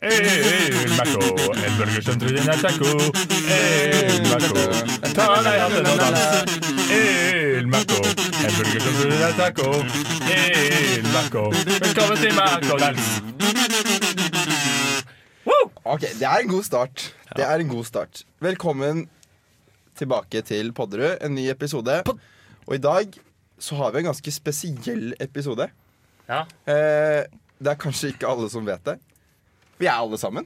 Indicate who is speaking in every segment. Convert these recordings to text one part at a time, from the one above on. Speaker 1: Eh, Umberto, en burgerstuntrull i en taco. Eh, Umberto, ta av deg hatten og dans. Eh, Umberto, en burgerstuntrull i en taco. Eh, Umberto, velkommen til McDonald's.
Speaker 2: Ok, Det er en god start. Det er en god start Velkommen tilbake til Podderud, en ny episode. Og i dag så har vi en ganske spesiell episode.
Speaker 1: Ja.
Speaker 2: Eh, det er kanskje ikke alle som vet det. Vi er alle sammen.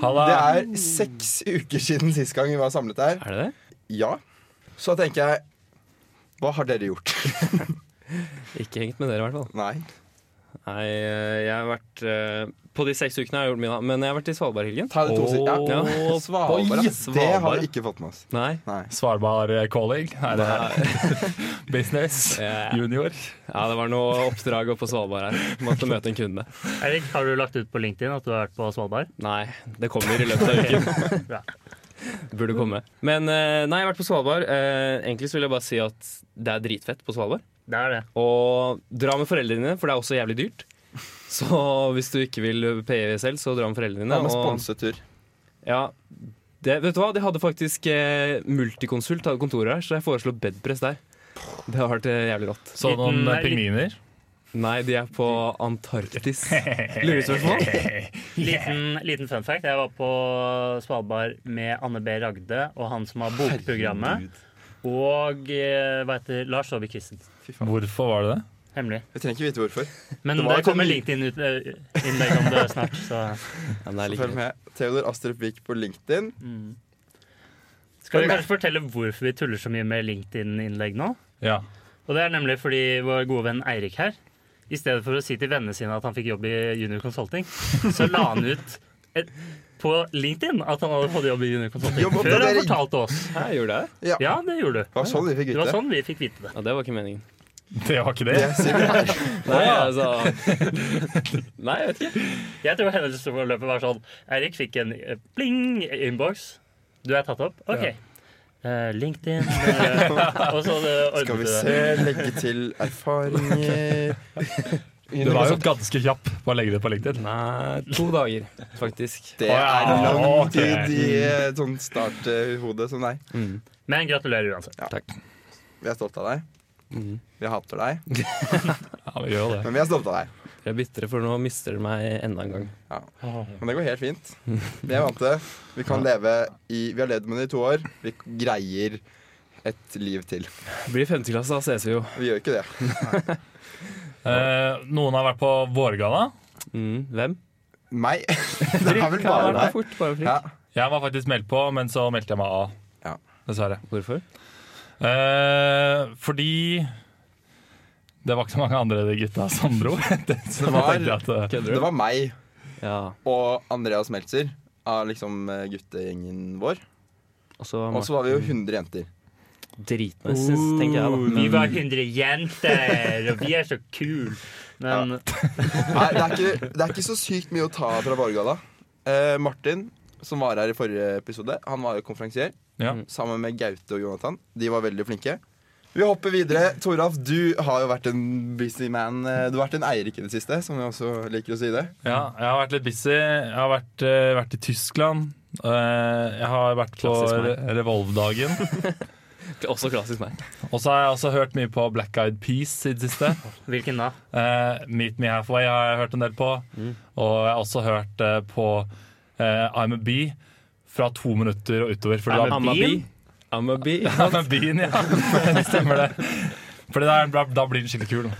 Speaker 1: Halla.
Speaker 2: Det er seks uker siden sist gang vi var samlet her.
Speaker 3: Er det det?
Speaker 2: Ja. Så da tenker jeg Hva har dere gjort?
Speaker 3: Ikke hengt med dere, i hvert fall.
Speaker 2: Nei.
Speaker 3: Nei, eh, jeg har vært eh, På de seks ukene har jeg gjort mine, men jeg har vært i Svalbardhelgen.
Speaker 2: Ta det to
Speaker 1: Åh,
Speaker 2: sider. Ja.
Speaker 3: Ja.
Speaker 2: Svalbard. ass. Det har
Speaker 3: Svalbard.
Speaker 2: vi ikke fått med oss.
Speaker 3: Nei.
Speaker 2: Nei.
Speaker 1: Svalbard eh, calling. Nei, det er business.
Speaker 3: Ja.
Speaker 1: Junior.
Speaker 3: Eh, Ja, det var noe oppdrag oppe på Svalbard her. Måtte møte en kunde.
Speaker 4: Erik, har du lagt ut på LinkedIn at du har vært på Svalbard?
Speaker 3: Nei, det kommer i løpet av uken.
Speaker 4: Bra.
Speaker 3: Burde komme. Men eh, nei, jeg har vært på Svalbard. Eh, egentlig så vil jeg bare si at det er dritfett på Svalbard.
Speaker 4: Det er det.
Speaker 3: Og dra med foreldrene dine, for det er også jævlig dyrt. Så hvis du ikke vil PE selv, så dra med foreldrene
Speaker 2: Det
Speaker 3: dine.
Speaker 2: er med
Speaker 3: og-
Speaker 2: sponsetur.
Speaker 3: Ja, det, vet du hva? De hadde faktisk eh, multikonsult hadde kontoret her, så jeg foreslo bedpress der. Det har vært eh, jævlig rått.
Speaker 1: Så noen eh, pingviner.
Speaker 3: Nei, de er på Antarktis. Lurespørsmål?
Speaker 4: Liten, liten fun fact. Jeg var på Svalbard med Anne B. Ragde og han som har bokprogrammet. Og eh, hva heter Lars Saabye Christensen.
Speaker 1: Hvorfor var det det?
Speaker 4: Hemmelig.
Speaker 2: Vi trenger ikke vite hvorfor.
Speaker 4: Men
Speaker 2: Det
Speaker 4: det,
Speaker 2: var jo
Speaker 4: kommer
Speaker 2: en-
Speaker 4: LinkedIn-innlegg eh, om det snart, så
Speaker 3: Ja, men det er like
Speaker 2: Følg
Speaker 3: greit.
Speaker 2: med. Theodor Astrup Vik på LinkedIn.
Speaker 4: mm. Skal vi kanskje fortelle hvorfor vi tuller så mye med LinkedIn-innlegg nå?
Speaker 1: Ja.
Speaker 4: Og det er nemlig fordi vår gode venn Eirik her, i stedet for å si til vennene sine at han fikk jobb i Junior Consulting, så la han ut et, på LinkedIn at han hadde fått jobb i Junior Consulting. Før han
Speaker 2: Jobboppdatering.
Speaker 4: fortalte oss.
Speaker 3: Hæ, gjorde jeg det?
Speaker 2: Ja.
Speaker 4: Ja, det gjorde du.
Speaker 2: Det var sånn vi fikk
Speaker 4: Det
Speaker 2: vite.
Speaker 4: var sånn vi fikk vite det.
Speaker 3: Ja, det var ikke meningen.
Speaker 1: Det var ikke det.
Speaker 2: Det sier vi her.
Speaker 3: Nei, altså Nei, jeg vet ikke.
Speaker 4: Jeg tror hendelsesforløpet var sånn Eirik fikk en eh, pling innboks. Du er tatt opp? OK. Eh, LinkedIn eh, Og så eh,
Speaker 2: Skal vi
Speaker 4: ordnet du
Speaker 2: se,
Speaker 4: det.
Speaker 2: legge til erfaringer
Speaker 1: Du var jo ganske kjapp på å legge det på LinkedIn.
Speaker 3: Nei, to dager, faktisk.
Speaker 2: Det er lang
Speaker 1: Ok.
Speaker 2: tid i
Speaker 4: Mm.
Speaker 2: eh, sånn starthodet som deg.
Speaker 3: Mm.
Speaker 4: Men gratulerer uansett.
Speaker 2: Vi er stolte av deg.
Speaker 4: Mm.
Speaker 3: Mhm.
Speaker 2: Vi hater deg,
Speaker 1: Ja, vi gjør jo det.
Speaker 2: men vi er stolte av deg.
Speaker 3: Jeg er bitre, for nå mister du meg enda en gang.
Speaker 2: Men det går helt fint. Vi er vant til det. Vi kan leve i Vi har levd med det i to år. Vi greier et liv til.
Speaker 3: Det blir femteklasse, da ses vi jo.
Speaker 2: Vi gjør ikke det.
Speaker 1: Eh, noen har vært på vårgalla.
Speaker 3: Mm. Hvem?
Speaker 2: Meg. Det er vel
Speaker 3: Ja,
Speaker 2: bare
Speaker 3: det er
Speaker 2: deg.
Speaker 3: fort, bare fri.
Speaker 2: Ja.
Speaker 1: Jeg var faktisk meldt på, men så meldte jeg meg av.
Speaker 2: Ja.
Speaker 1: Dessverre.
Speaker 3: Hvorfor?
Speaker 1: Eh, fordi det var ikke så mange andre gutta som dro. så
Speaker 2: Det
Speaker 1: da
Speaker 2: var-
Speaker 1: tenkte jeg at eh,
Speaker 3: Kødder
Speaker 2: Det
Speaker 3: du?
Speaker 2: var meg
Speaker 3: Ja.
Speaker 2: og Andreas Meltzer av liksom eh, guttegjengen vår.
Speaker 3: Og så
Speaker 1: Sånn
Speaker 2: Og så var vi jo 100 jenter.
Speaker 3: dritnice, synes- tenker jeg, da.
Speaker 4: Vi var 100 jenter, og vi er så kule. Men
Speaker 2: Nei, det er, ikke, det er ikke så sykt mye å ta fra Vårgalla. Eh, Martin, som var her i forrige episode, han var jo konferansier
Speaker 1: ja.
Speaker 2: sammen med Gaute og Jonathan. De var veldig flinke. Vi hopper videre. Toralf, du har jo vært en busy man. Eh, Du har vært en Eirik i det siste, som vi også liker å si det.
Speaker 1: ja, jeg har vært litt busy. Jeg har vært, eh, vært i Tyskland. Eh, jeg har vært på
Speaker 3: Klassisk meg.
Speaker 1: Re- Revolve-dagen.
Speaker 3: Også klassisk meg.
Speaker 1: Og så har jeg også hørt mye på Black Eyed Peas i det siste.
Speaker 4: hvilken da?
Speaker 1: Eh, Meet Me Halfway har jeg hørt en del på. Og jeg har også hørt eh, på eh, I'm a Bee fra to minutter og utover. Fordi
Speaker 4: I'm
Speaker 1: da-
Speaker 4: a Bean?
Speaker 3: I'm a bee.
Speaker 1: I'm a Bee, ja. Det stemmer det. Fordi da, da, da blir den skikkelig kul.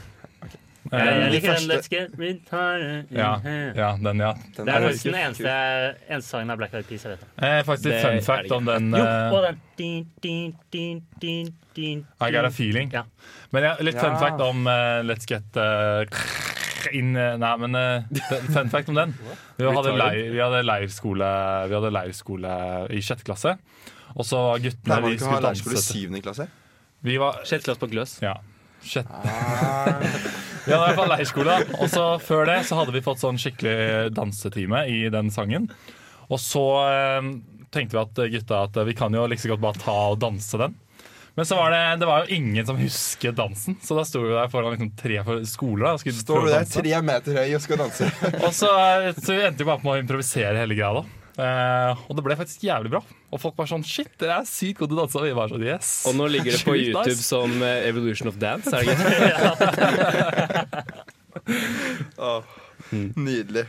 Speaker 4: Jeg
Speaker 1: Eh,
Speaker 2: de
Speaker 4: liker den
Speaker 2: første-
Speaker 4: Let's Get Retarded in
Speaker 1: ja,
Speaker 4: Here.
Speaker 1: ja, den, ja.
Speaker 2: Den
Speaker 4: Det er
Speaker 2: er
Speaker 4: faktisk den
Speaker 2: kult.
Speaker 4: eneste, eneste sangen av Black Eyed Peas jeg vet om.
Speaker 1: Eh, faktisk
Speaker 3: Det
Speaker 1: litt
Speaker 3: er
Speaker 1: fun fact
Speaker 3: det
Speaker 1: om den.
Speaker 4: Jo,
Speaker 1: eh,
Speaker 4: og den din, din, din, din, din,
Speaker 1: I got a
Speaker 4: din.
Speaker 1: feeling.
Speaker 4: Ja.
Speaker 1: Men ja, litt fun
Speaker 2: Ja.
Speaker 1: fact om eh, Let's Get eh, in, eh, Nei, men eh, det- fun fact om den. Vi hadde, leir, vi hadde leirskole Vi hadde leirskole i sjette klasse. Og så var guttene
Speaker 2: Pleier man
Speaker 1: de
Speaker 2: ikke å ha
Speaker 1: skulle danse
Speaker 2: lærerskole i
Speaker 1: til-
Speaker 2: syvende klasse?
Speaker 1: Vi var
Speaker 3: Sjette klasse på gløs.
Speaker 1: Ja. Sjette.
Speaker 2: Ah,
Speaker 1: Vi hadde i hvert fall leirskole. da. Og så før det så hadde vi fått sånn skikkelig dansetime i den sangen. Og så eh, tenkte vi at eh, gutta at eh, vi kan jo like så godt bare ta og danse den. Men så var det, det var jo ingen som husket dansen, så da sto vi der foran liksom tre for- skoler da, og skulle
Speaker 2: Står
Speaker 1: prøve å
Speaker 2: du der
Speaker 1: danse.
Speaker 2: tre meter høy og skal danse?
Speaker 1: Og så, eh, så vi endte jo bare på med å improvisere hele greia da. Eh, og det ble faktisk jævlig bra. Og folk var sånn shit, dere er sykt gode til å danse. Og vi var sånn yes.
Speaker 3: Og nå ligger det på
Speaker 1: Sjukt nice.
Speaker 3: YouTube som eh, Evolution of Dance, er det ikke?
Speaker 2: Åh,
Speaker 1: Mm.
Speaker 2: Nydelig.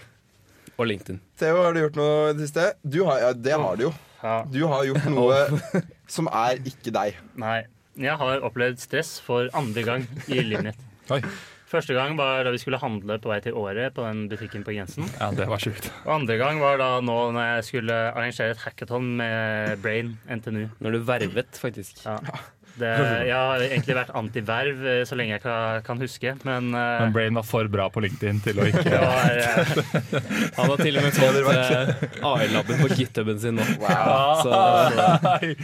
Speaker 3: Og LinkedIn.
Speaker 2: Theo, har du gjort noe i det siste? Du har, ja, det har du jo.
Speaker 4: Ja,
Speaker 2: Du har gjort noe som er ikke deg.
Speaker 4: nei. Jeg har opplevd stress for andre gang i livet mitt.
Speaker 1: Oi,
Speaker 4: Første gang var da vi skulle handle på vei til Året på den butikken på grensen.
Speaker 1: ja, det var sjukt.
Speaker 4: Og andre gang var da nå når jeg skulle arrangere et hackathon med Brain NTNU.
Speaker 3: Når du vervet, faktisk.
Speaker 4: Ja. Det, jeg har egentlig vært antiverv eh, så lenge jeg ka- kan huske, men eh,
Speaker 1: Men Brain var for bra på LinkedIn til å ikke
Speaker 4: det var eh,
Speaker 3: Han har til og med fått eh, AI-labben på githuben sin nå.
Speaker 2: Wow.
Speaker 3: Så
Speaker 1: Nei.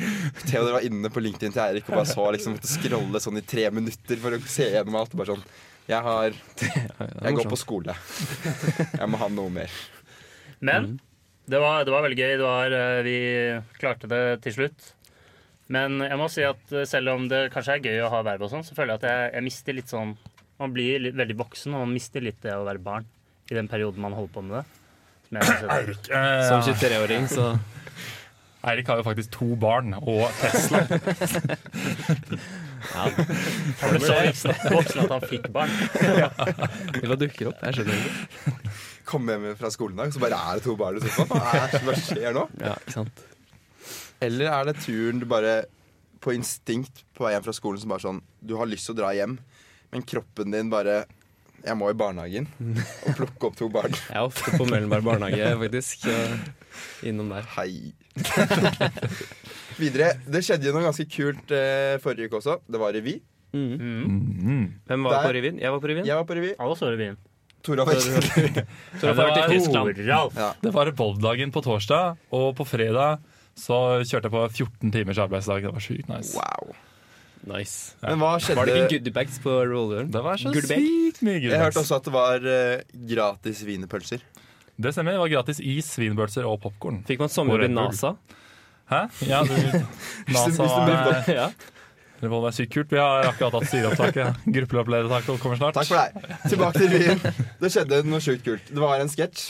Speaker 2: Theodor var inne på LinkedIn til Eirik og bare så liksom måtte scrolle sånn i tre minutter for å se gjennom alt. Bare sånn Jeg har Jeg går på skole. Jeg må ha noe mer.
Speaker 4: Men det var, det var veldig gøy. Det var, eh, vi klarte det til slutt. Men jeg må si at eh, selv om det kanskje er gøy å ha verv og sånn, så føler jeg at jeg, jeg mister litt sånn Man blir litt, veldig voksen, og man mister litt det å være barn i den perioden man holder på med det. Som jeg synes er-
Speaker 3: Som
Speaker 1: Eh,
Speaker 3: 23-åring, så
Speaker 1: Eirik har jo faktisk to barn og Tesla.
Speaker 4: Han ble så voksen, voksen at han fikk barn.
Speaker 3: Det bare dukker opp. Jeg skjønner ikke.
Speaker 2: Kom hjem fra skolen i dag, så bare er det to barn i sofaen. Hva er- Hva skjer nå?
Speaker 3: Ja, ikke sant?
Speaker 2: Eller er det turen du bare på instinkt på vei hjem fra skolen som bare sånn Du har lyst til å dra hjem, men kroppen din bare Jeg må i barnehagen og plukke opp to barn.
Speaker 3: Jeg er ofte på Møllenberg barnehage, faktisk. eh, Innom der.
Speaker 2: Hei. Videre. Det skjedde jo noe ganske kult eh, forrige uke også. Det var revy.
Speaker 3: Mhm.
Speaker 4: Mm.
Speaker 3: Hvem var
Speaker 2: Der.
Speaker 3: på revyen? Jeg var på revyen.
Speaker 2: Jeg var på revy.
Speaker 4: Alle så revyen.
Speaker 2: Tora var ikke det.
Speaker 3: Tror jeg
Speaker 1: Ja,
Speaker 3: har vært i
Speaker 1: det
Speaker 3: Tyskland.
Speaker 4: Toralf.
Speaker 1: Det var Bob-dagen på torsdag, og på fredag så kjørte jeg på 14 timers arbeidsdag. Det var sjukt nice.
Speaker 2: Wow.
Speaker 3: Nice.
Speaker 2: Men hva skjedde?
Speaker 3: Var det ikke goodiebags på rolleren?
Speaker 1: Det var så
Speaker 3: Gullbag.
Speaker 1: sykt mye
Speaker 2: Jeg hørte
Speaker 1: gullbags.
Speaker 2: også at det var eh, gratis wienerpølser.
Speaker 1: Det stemmer. Det var gratis is, svinbølser og popkorn.
Speaker 3: Fikk man sommerjobb
Speaker 1: Hvor er
Speaker 3: i NASA? Altså,
Speaker 1: Hæ? Ja, du,
Speaker 2: Hvis du-
Speaker 1: NASA
Speaker 2: hvis du blir
Speaker 1: er-
Speaker 3: ja.
Speaker 1: Det var sykt kult. Vi har akkurat hatt styreopptaket. Gruppeoppledertaket kommer snart.
Speaker 2: Takk for deg. Tilbake til revyen. Det skjedde noe sjukt kult. Det var en sketsj.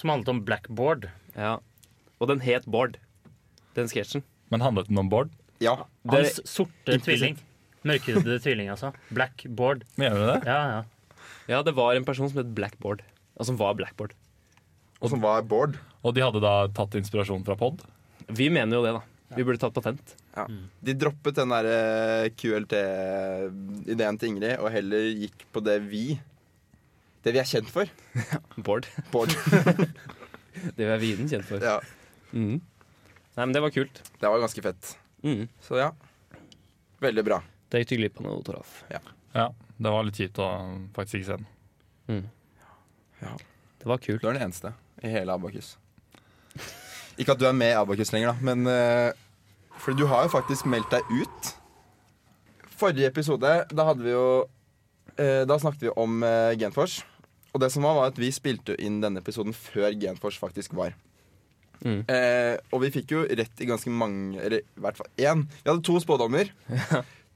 Speaker 4: Som handlet om blackboard.
Speaker 3: ja. Og den het Bård, den sketsjen.
Speaker 1: Men handlet den om Bård?
Speaker 2: Ja.
Speaker 3: Det-
Speaker 4: Hans sorte
Speaker 3: Implisitt.
Speaker 4: tvilling. Mørkhudede tvilling, altså. Blackboard.
Speaker 1: Mener du det?
Speaker 4: Ja, ja.
Speaker 3: Ja, det var en person som het Blackboard. Og som var Blackboard.
Speaker 2: Og som var Bård.
Speaker 1: Og de hadde da tatt inspirasjon fra pod?
Speaker 3: Vi mener jo det, da. Vi burde tatt patent.
Speaker 2: De droppet den der eh, QLT-ideen til Ingrid, og heller gikk på det vi Det vi er kjent for.
Speaker 3: Bård.
Speaker 2: Bård.
Speaker 3: Det er viden kjent for.
Speaker 2: Ja,
Speaker 3: Mhm. Nei, men det var kult.
Speaker 2: det var ganske fett.
Speaker 3: Mhm.
Speaker 2: Så ja. Veldig bra.
Speaker 3: Det gikk du glipp av noe, Toralf.
Speaker 1: Ja, det var litt kjipt å faktisk ikke se den.
Speaker 3: Det var kult.
Speaker 2: Du er den eneste i hele Abakus. Ikke at du er med i Abakus lenger, da, men eh, Fordi du har jo faktisk meldt deg ut. Forrige episode, da hadde vi jo eh, Da snakket vi om eh, Genfors. Og det som var, var at vi spilte inn denne episoden før Genfors faktisk var.
Speaker 3: Mm.
Speaker 2: Eh, og vi fikk jo rett i ganske mange Eller i hvert fall én. Vi hadde to spådommer.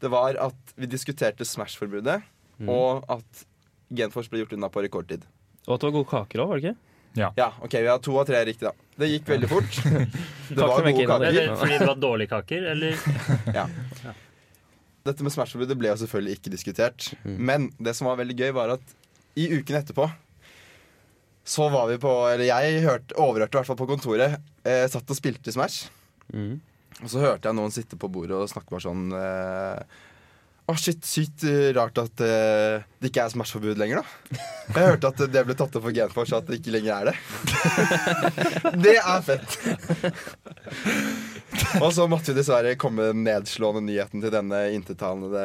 Speaker 2: Det var at vi diskuterte Smash-forbudet,
Speaker 3: Mm.
Speaker 2: og at Genfors ble gjort unna på rekordtid.
Speaker 3: Og at det var gode kaker òg, var det ikke?
Speaker 2: Ja, ok, vi har to av tre riktig da Det gikk veldig fort Det var
Speaker 3: for meg,
Speaker 2: gode
Speaker 3: Kina.
Speaker 4: Er
Speaker 2: kaker
Speaker 4: det fordi det var dårlige kaker, eller?
Speaker 2: Dette med Smash-forbudet ble jo selvfølgelig ikke diskutert Men det som var veldig gøy var at I uken etterpå Så var vi på, eller jeg hørte, overhørte i hvert fall på kontoret eh, Satt og spilte Smash
Speaker 3: Mhm.
Speaker 2: Og så hørte jeg noen sitte på bordet og snakke bare sånn eh, Å shit, sykt eh, rart at eh, det ikke er Smash-forbud lenger da Jeg hørte at det ble tatt opp for Genfors At det ikke lenger er det Det er fett Og så måtte vi dessverre komme den nedslående nyheten Til denne intetanende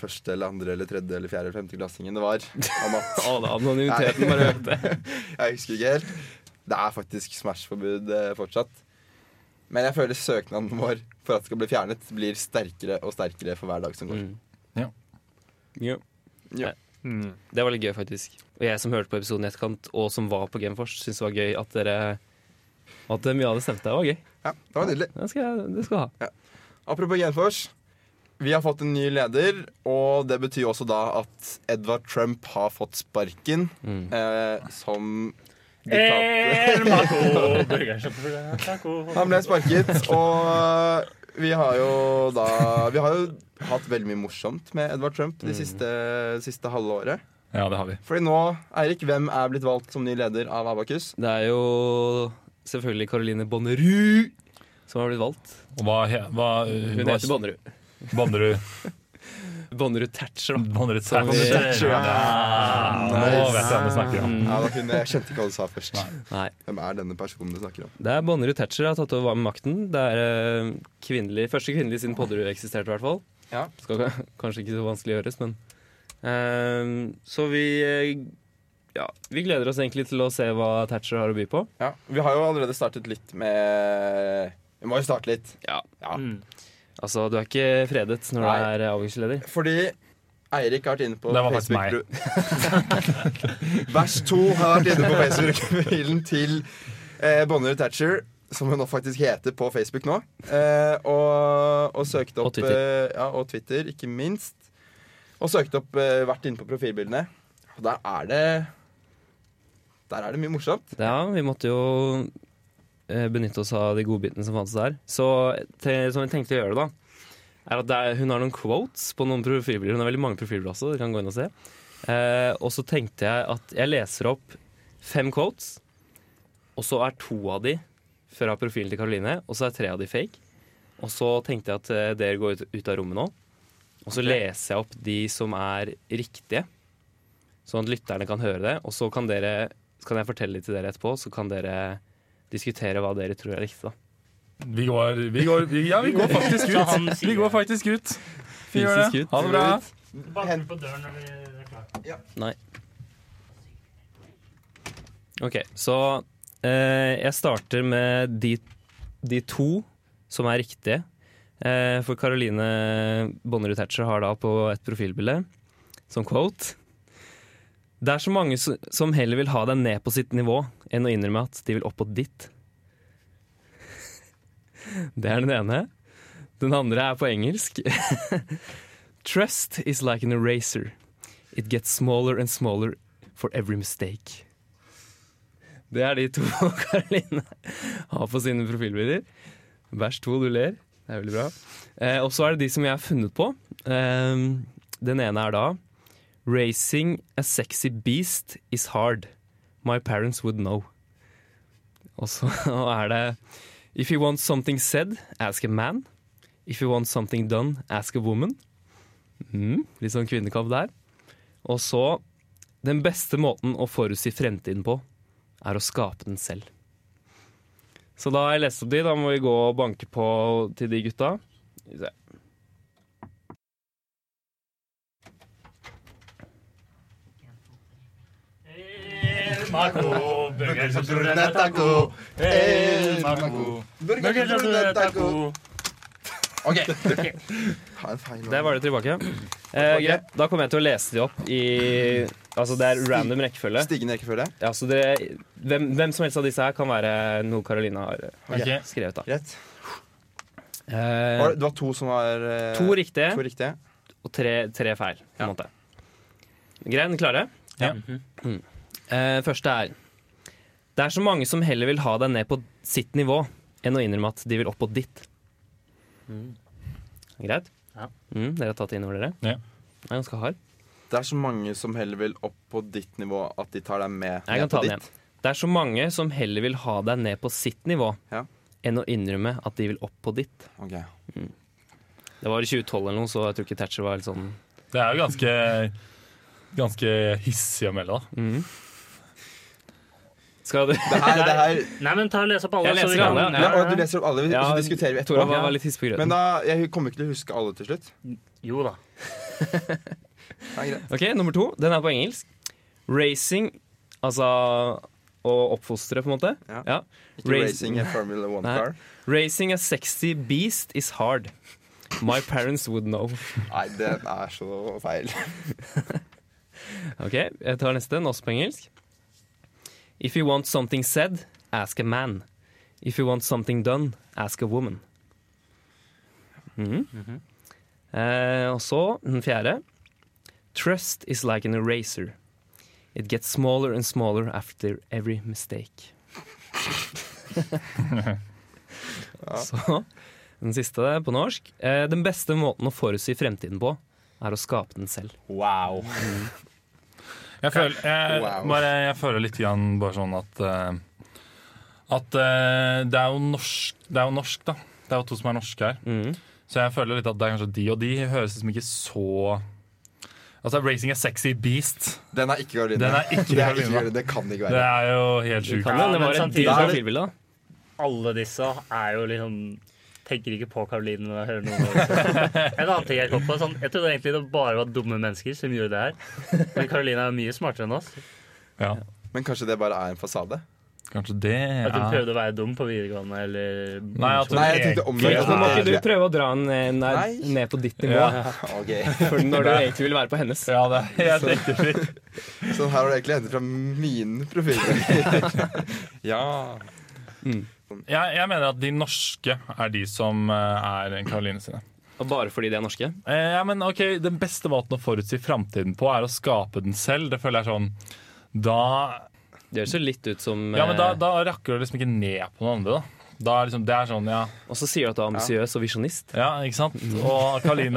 Speaker 2: Første eller andre eller tredje eller fjerde eller femte klassingen Det var om at
Speaker 3: Å, da, anonymiteten bare økte.
Speaker 2: Jeg husker ikke helt Det er faktisk Smash-forbud eh, fortsatt Men jeg føler søknaden vår For at det skal bli fjernet Blir sterkere og sterkere for hver dag som går
Speaker 3: Mm.
Speaker 1: Ja.
Speaker 3: Ja.
Speaker 2: Ja.
Speaker 3: Nei, Det var litt gøy, faktisk. Og jeg som hørte på episoden i etterkant, og som var på Genfors, syntes det var gøy at dere At mye av det stemte. Det var gøy.
Speaker 2: Ja, det var nydelig
Speaker 3: Det skal, jeg- det skal jeg ha.
Speaker 2: Apropos Genfors. Vi har fått en ny leder, og det betyr også da at Edvard Trump har fått sparken eh, som diktator.
Speaker 4: El Maco! Burgersjappa taco.
Speaker 2: Han ble sparket, og vi har jo da Vi har jo hatt veldig mye morsomt med Edvard Trump de siste, siste halve året.
Speaker 1: Ja, det har vi.
Speaker 2: Fordi nå, Eirik, hvem er blitt valgt som ny leder av Abakus?
Speaker 3: Det er jo selvfølgelig Caroline Bonnerud som har blitt valgt.
Speaker 1: Og hva, he- hva, uh,
Speaker 3: Hun
Speaker 1: hva
Speaker 3: heter Bonnerud.
Speaker 1: Bonnerud.
Speaker 3: Bonnerud Thatcher, da.
Speaker 1: Bonnerud Sæther.
Speaker 3: Bonnerud
Speaker 2: Sæther, ja.
Speaker 1: Ja, Nå
Speaker 2: Nice.
Speaker 1: vet jeg hvem du snakker om.
Speaker 2: Ja, da kunne jeg skjønte ikke hva du sa først.
Speaker 3: Nei.
Speaker 2: Hvem er denne personen du snakker om?
Speaker 3: Det er Bonnerud Thatcher har tatt over med makten. Det er eh, kvinnelig, første kvinnelig siden Podderud eksisterte, i hvert fall.
Speaker 2: Ja.
Speaker 3: Skal ka- kanskje ikke så vanskelig gjøres, men eh, Så vi eh, ja, vi gleder oss egentlig til å se hva Thatcher har å by på.
Speaker 2: Ja, Vi har jo allerede startet litt med Vi må jo starte litt. Ja.
Speaker 4: Mm.
Speaker 3: Altså, du er ikke fredet når du
Speaker 2: Nei.
Speaker 3: er avgangsleder.
Speaker 2: Fordi Eirik har vært inne på
Speaker 1: Det var faktisk meg.
Speaker 2: Vers 2 har vært inne på Facebook-profilen til eh, Bonnerud Thatcher, som hun nå faktisk heter på Facebook nå. Eh, og, og søkte
Speaker 3: Og
Speaker 2: opp
Speaker 3: Twitter.
Speaker 2: Eh, ja, og Twitter, ikke minst. Og søkte opp eh, vært inne på profilbildene. Og der er det Der er det mye morsomt.
Speaker 3: Ja, vi måtte jo eh, benytte oss av de godbitene som fantes der. Så te, som vi tenkte å gjøre, da, er at det er, hun har noen quotes på noen profilbilder. Hun har veldig mange profilbilder også, dere kan gå inn og se. Eh, og så tenkte jeg at jeg leser opp fem quotes, og så er to av de fra profilen til Karoline, og så er tre av de fake. Og så tenkte jeg at eh, dere går ut, ut av rommet nå, og så leser jeg opp de som er riktige, sånn at lytterne kan høre det, og så kan dere så kan jeg fortelle litt til dere etterpå, så kan dere diskutere hva dere tror er riktig. da.
Speaker 1: Vi går, vi går, vi, ja, vi går faktisk
Speaker 4: Så han
Speaker 1: ut.
Speaker 4: sier-
Speaker 1: Vi går faktisk ut. Vi gjør
Speaker 3: Fysisk
Speaker 1: det.
Speaker 3: ut.
Speaker 1: Ha det bra.
Speaker 4: Banker på døren når vi er klare.
Speaker 3: Nei. OK, så eh, jeg starter med de, de to som er riktige. Eh, for Caroline Bonnerud Thatcher har da på et profilbilde som quote Det er så mange s- som heller vil ha deg ned på sitt nivå enn å innrømme at de vil opp på ditt. Det er den ene. Den andre er på engelsk. Trust is like an eraser. It gets smaller and smaller for every mistake. Det er de to Karoline har på sine profilbilder. Vers to, du ler. Det er veldig bra. Eh, og så er det de som jeg har funnet på. Eh, den ene er da Racing a sexy beast is hard. My parents would know. Og så er det If you want something said, ask a man. If you want something done, ask a woman. Mm, litt sånn kvinnekamp der. Og så Den beste måten å forutsi fremtiden på, er å skape den selv. Så da har jeg lest opp de. Da må vi gå og banke på til de gutta. Skal vi se.
Speaker 4: El Maco, burgersjappa taco. El Maco,
Speaker 2: Ok,
Speaker 4: burgersjappa taco.
Speaker 2: Ha en feil
Speaker 3: Der var det tilbake. Eh, greit. Da kommer jeg til å lese de opp i Altså det er random rekkefølge.
Speaker 2: Stigende rekkefølge.
Speaker 3: Ja, så dere, hvem, hvem som helst av disse her kan være noe Carolina har eh,
Speaker 4: Ok.
Speaker 3: skrevet. da
Speaker 2: Greit.
Speaker 3: eh,
Speaker 2: Var det, det var to som var eh,
Speaker 3: To riktige.
Speaker 2: to riktige.
Speaker 3: og tre, tre feil, på en måte. Greien, klare?
Speaker 1: Ja.
Speaker 2: Mhm.
Speaker 3: Mm. Eh, første er Det er så mange som heller vil ha deg ned på sitt nivå enn å innrømme at de vil opp på ditt.
Speaker 2: Mhm.
Speaker 3: Greit?
Speaker 4: Ja.
Speaker 3: Mm, dere har tatt det innover dere?
Speaker 1: Ja.
Speaker 3: Den er ganske hard.
Speaker 2: Det er så mange som heller vil opp på ditt nivå at de tar deg med. ned
Speaker 3: Jeg kan ta
Speaker 2: på
Speaker 3: den
Speaker 2: ditt.
Speaker 3: igjen. Det er så mange som heller vil ha deg ned på sitt nivå
Speaker 2: Ja.
Speaker 3: enn å innrømme at de vil opp på ditt.
Speaker 2: Ok.
Speaker 3: Det var i 2012 eller noe, så jeg tror ikke Thatcher var helt sånn
Speaker 1: Det er jo ganske, ganske hissig å melde, da.
Speaker 2: Mhm.
Speaker 3: Skal du
Speaker 2: Det her, det her
Speaker 4: Nei, men ta og les opp alle.
Speaker 3: Jeg
Speaker 4: så vi
Speaker 3: leser
Speaker 4: kan-
Speaker 3: alle,
Speaker 2: ja,
Speaker 4: Ja,
Speaker 2: og Du leser opp alle, vi-
Speaker 3: Ja,
Speaker 2: så diskuterer vi etterpå.
Speaker 3: Tora var, var litt hiss på grøten.
Speaker 2: Men da, jeg kommer ikke til å huske alle til slutt.
Speaker 4: Jo da.
Speaker 2: Nei, greit.
Speaker 3: Ok, nummer to. Den er på engelsk. Racing, altså å oppfostre, på en måte.
Speaker 2: Ja. Ikke
Speaker 3: Race-
Speaker 2: racing a Formula
Speaker 3: Nei.
Speaker 2: One-car.
Speaker 3: Racing a sexy beast is hard. My parents would know.
Speaker 2: Nei, den er så feil.
Speaker 3: Ok, jeg tar neste, den er også på engelsk. If you want something said, ask a man. If you want something done, ask a woman. Mhm. Eh, og så den fjerde. Trust is like an eraser. It gets smaller and smaller after every mistake. Så den siste på norsk. Eh, den beste måten å forutsi fremtiden på, er å skape den selv.
Speaker 5: Wow.
Speaker 1: Jeg føler, jeg,
Speaker 2: Wow.
Speaker 1: bare, jeg føler litt grann bare sånn at eh, At eh, det er jo norsk, det er jo norsk da. Det er jo to som er norske her.
Speaker 3: Mhm.
Speaker 1: Så jeg føler litt at det er kanskje de og de høres liksom ikke så Altså, Racing a sexy beast.
Speaker 2: Den er ikke Karoline.
Speaker 1: Den er ikke
Speaker 2: det,
Speaker 1: Karoline.
Speaker 2: Karoline. det kan det ikke
Speaker 1: Det
Speaker 2: være.
Speaker 1: er jo helt
Speaker 3: Det
Speaker 1: sjukt.
Speaker 3: kan
Speaker 4: Ja,
Speaker 3: hende det
Speaker 4: men
Speaker 3: var et
Speaker 4: samtidig
Speaker 3: dyrt
Speaker 2: så er det-
Speaker 3: profilbilde. da.
Speaker 4: Alle disse er jo liksom Tenker ikke på Karoline når jeg hører noe. om det. En annen ting jeg kom på sånn, Jeg trodde egentlig det bare var dumme mennesker som gjorde det her. Men Karoline er mye smartere enn oss.
Speaker 1: Ja,
Speaker 2: Men kanskje det bare er en fasade?
Speaker 1: kanskje det
Speaker 4: At hun
Speaker 1: er
Speaker 4: prøvde å være dum på videregående eller
Speaker 1: Nei, at hun
Speaker 2: Nei, jeg tenkte
Speaker 1: egentlig-
Speaker 2: omvendt.
Speaker 3: Nå må ikke du prøve å dra den ned,
Speaker 2: Nei.
Speaker 3: ned på ditt nivå.
Speaker 1: Ja.
Speaker 2: Ok,
Speaker 3: For når du egentlig vil være på hennes.
Speaker 1: Ja, det er helt riktig.
Speaker 2: Så her har du egentlig hentet fra min profil. ja.
Speaker 1: Jeg, jeg mener at de norske er de som eh, er Karoline sine.
Speaker 3: Og bare fordi de er norske.
Speaker 1: Eh, Ja, men ok, Den beste måten å forutsi framtiden på, er å skape den selv. Det føler jeg er sånn Da,
Speaker 3: Det høres jo litt ut som
Speaker 1: ja, men da,
Speaker 3: eh,
Speaker 1: da rakker du liksom ikke ned på noen andre. da da er liksom, Det er sånn, ja,
Speaker 3: Og så sier du at du er ambisiøs og visjonist.
Speaker 1: ja ikke sant? Og Karoline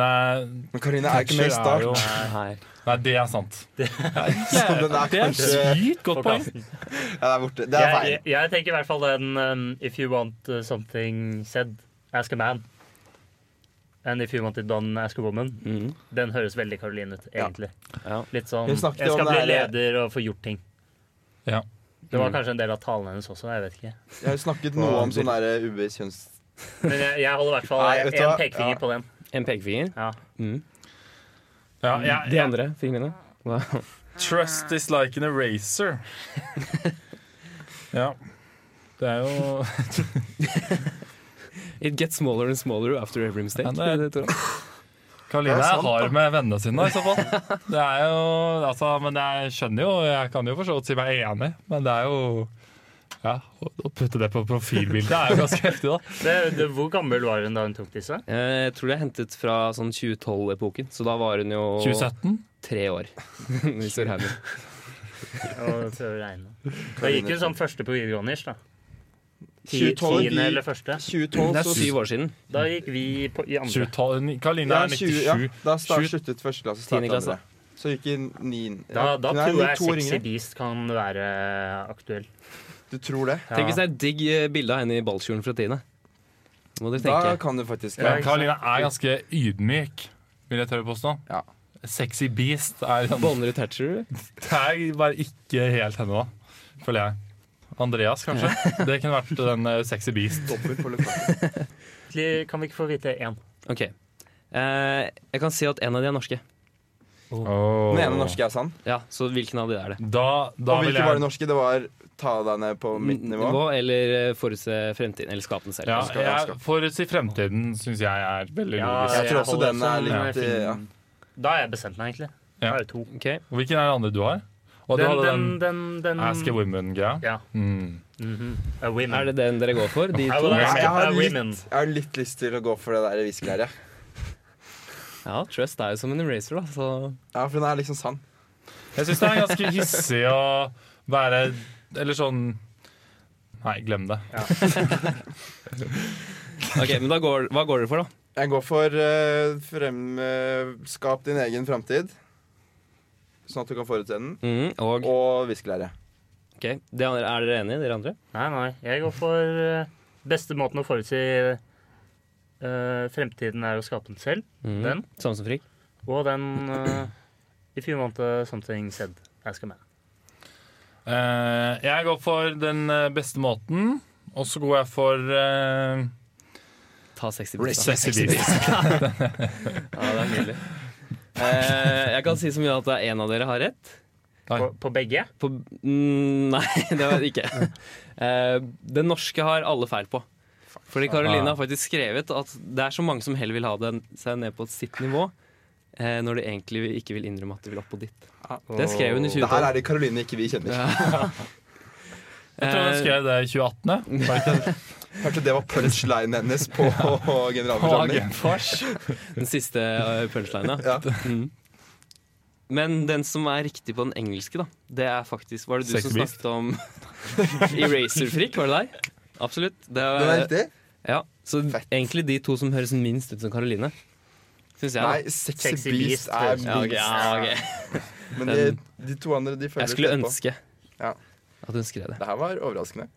Speaker 2: Men Karoline er ikke med
Speaker 1: Thatcher
Speaker 2: i start.
Speaker 1: jo-
Speaker 3: Nei.
Speaker 1: Nei, det er sant.
Speaker 2: Så den er
Speaker 1: Det er
Speaker 2: kanskje ja,
Speaker 1: sykt godt poeng.
Speaker 2: det er borte. Det er
Speaker 4: Jeg,
Speaker 2: feil.
Speaker 4: jeg, jeg tenker i hvert fall den um, If you want uh, something said, ask a man. And if you want it done, ask a woman.
Speaker 3: Mhm.
Speaker 4: Den høres veldig Karoline ut, egentlig.
Speaker 3: Ja.
Speaker 4: Litt sånn
Speaker 2: Hun
Speaker 4: Jeg
Speaker 2: snakket om
Speaker 4: skal bli
Speaker 2: det her- eh,
Speaker 4: leder og få gjort ting.
Speaker 1: Ja.
Speaker 4: Det var kanskje en del av talen hennes også. Jeg vet ikke.
Speaker 2: Jeg har snakket noe om sånn der ubevisst kjønns...
Speaker 4: Men jeg, jeg holder i hvert fall
Speaker 2: Nei, vet du
Speaker 4: én
Speaker 2: hva?
Speaker 4: pekefinger
Speaker 2: Ja.
Speaker 4: på den.
Speaker 3: En pekefinger.
Speaker 4: Ja.
Speaker 3: Mm.
Speaker 1: Ja, jeg-
Speaker 3: De andre fingrene. Hva?
Speaker 1: Trust is like an eraser. Ja. Det er jo
Speaker 3: It gets smaller and smaller after every mistake.
Speaker 1: Ja, det
Speaker 3: tror jeg.
Speaker 1: Karoline
Speaker 2: Det er
Speaker 1: er
Speaker 2: sant,
Speaker 1: hard med vennene sine, i så fall. Det er jo, altså, men jeg skjønner jo, jeg kan jo for så vidt si meg enig, men det er jo ja, Å å putte det på profilbildet er jo ganske heftig, da.
Speaker 4: Det, det, hvor gammel var hun da hun tok disse?
Speaker 3: Eh, jeg tror det er hentet fra sånn 2012-epoken, så da var hun jo
Speaker 1: 2017?
Speaker 3: tre år. Hvis du regner.
Speaker 4: Og prøve å regne. Da gikk hun som første på videregående. ish, da. Ti-
Speaker 2: 2012, vi-
Speaker 4: Tiende eller første.
Speaker 2: 2012,
Speaker 3: Det er
Speaker 2: så
Speaker 3: syv år siden.
Speaker 4: Da gikk vi på, i andre.
Speaker 1: 2012 Karoline
Speaker 2: Ja,
Speaker 1: er
Speaker 2: 20, ja.
Speaker 1: 97.
Speaker 2: Da start,
Speaker 1: Sju-
Speaker 2: sluttet første klasse,
Speaker 3: Tiende
Speaker 2: startet
Speaker 3: klasse.
Speaker 2: andre. Så gikk i nin...
Speaker 4: Da, da
Speaker 2: Nei,
Speaker 4: tror jeg
Speaker 2: to
Speaker 4: Sexy
Speaker 2: ringere.
Speaker 4: Beast kan være aktuell.
Speaker 2: Du tror det?
Speaker 3: Tenk hvis det er et digg eh, bilde av henne i ballkjolen fra tiende. Må dere
Speaker 2: Da
Speaker 3: tenke.
Speaker 2: kan du faktisk
Speaker 1: Men
Speaker 2: det.
Speaker 1: Karoline er ganske ydmyk, vil jeg tørre påstå.
Speaker 2: Ja.
Speaker 1: Sexy beast er
Speaker 3: Bonner i Thatcher.
Speaker 1: Det er bare ikke helt henne, da. Føler jeg. Andreas, kanskje? Det kunne vært den eh, sexy beast.
Speaker 2: Dobbelt på løpet.
Speaker 4: Egentlig Kan vi ikke få vite én?
Speaker 3: Ok. Eh, jeg kan si at en av de er norske.
Speaker 2: Den ene norske er sann.
Speaker 3: Ja, Så hvilken av de er det?
Speaker 1: Da, da
Speaker 2: Og
Speaker 1: vil
Speaker 2: hvilke
Speaker 1: jeg
Speaker 2: var det norske? Det var ta deg ned på mitt nivå.
Speaker 3: eller eh, forutse fremtiden. Eller skape den selv.
Speaker 1: Ja,
Speaker 2: Skal-
Speaker 1: jeg,
Speaker 2: skal-
Speaker 1: forutsi fremtiden syns jeg er veldig logisk.
Speaker 2: jeg tror også
Speaker 4: holder
Speaker 2: den er
Speaker 4: sånn,
Speaker 2: litt,
Speaker 4: eh, fin.
Speaker 2: ja.
Speaker 4: Da har jeg bestemt meg, egentlig. Da
Speaker 1: Ja.
Speaker 4: er det to.
Speaker 3: Ok.
Speaker 1: Og Hvilken er den andre du har? Og du
Speaker 4: Den,
Speaker 1: hadde
Speaker 4: den,
Speaker 1: den,
Speaker 4: den, den
Speaker 1: Ask a Women-greia?
Speaker 4: Ja.
Speaker 1: Mm.
Speaker 4: mhm. A women.
Speaker 3: Er det den dere går for? De
Speaker 4: I
Speaker 3: to?
Speaker 4: will
Speaker 2: Ja,
Speaker 4: ask
Speaker 2: jeg,
Speaker 4: a
Speaker 2: har
Speaker 4: women.
Speaker 2: litt, jeg har litt lyst til å gå for det der hviskelæret.
Speaker 3: Ja, Trust er jo som en eraser, da. Så
Speaker 2: Ja, for den er liksom sann.
Speaker 1: Jeg syns det er ganske hissig å være Eller sånn Nei, glem det.
Speaker 3: Ok, men da går, Hva går dere for, da?
Speaker 2: Jeg går for eh, frem... eh, skap din egen framtid, sånn at du kan forutse den.
Speaker 3: Mm, og
Speaker 2: Og hviskelære.
Speaker 3: ok, det andre, Er dere enige, dere andre?
Speaker 4: Nei, nei. Jeg går for eh, beste måten å forutsi eh, fremtiden er å skape den selv.
Speaker 3: Mm.
Speaker 4: Den.
Speaker 3: Samme som Frikk?
Speaker 4: Og den eh, If you want eh, something said, jeg skal med.
Speaker 1: Eh, jeg går for den eh, beste måten, og så går jeg for eh,
Speaker 3: Ta 60 bits, da.
Speaker 1: Sexy Beast.
Speaker 3: Ja, det er nydelig. Eh, jeg kan si så mye at det er en av dere har rett.
Speaker 4: På, på begge?
Speaker 3: På, mm, nei, det var det ikke. Eh, den norske har alle feil på. Fordi Karoline
Speaker 2: Ah.
Speaker 3: har faktisk skrevet at det er så mange som heller vil ha den, seg ned på sitt nivå, eh, når de egentlig ikke vil innrømme at de vil opp på ditt. Det skrev hun i
Speaker 2: Ah. Det her
Speaker 3: 2012.
Speaker 2: er det Karoline ikke vi kjenner.
Speaker 3: Eh,
Speaker 4: Eh.
Speaker 1: Jeg tror jeg skrev det i 2018. jeg. Var det ikke det?
Speaker 2: Kanskje det var punchlinen hennes på generalforsamling.
Speaker 3: Den siste eh, punchlinen.
Speaker 2: Ja.
Speaker 3: Mm. Men den som er riktig på den engelske, da, det er faktisk Var det du
Speaker 1: Sex
Speaker 3: som
Speaker 1: beast.
Speaker 3: snakket om Eraserfrik? Var det deg? Absolutt. Det er-
Speaker 2: Den er riktig?
Speaker 3: Ja, Så
Speaker 2: Fett.
Speaker 3: egentlig de to som høres minst ut som Karoline, syns jeg. da.
Speaker 2: Nei, Sexy,
Speaker 4: Sexy
Speaker 2: Beast
Speaker 4: Beast,
Speaker 2: er
Speaker 4: tror
Speaker 2: beast.
Speaker 3: Ja, ok, ja, ok.
Speaker 2: Men de, de to andre de følger
Speaker 3: Jeg skulle
Speaker 2: litt på.
Speaker 3: ønske
Speaker 2: Ja.
Speaker 3: at hun skrev det.
Speaker 2: Det her var overraskende.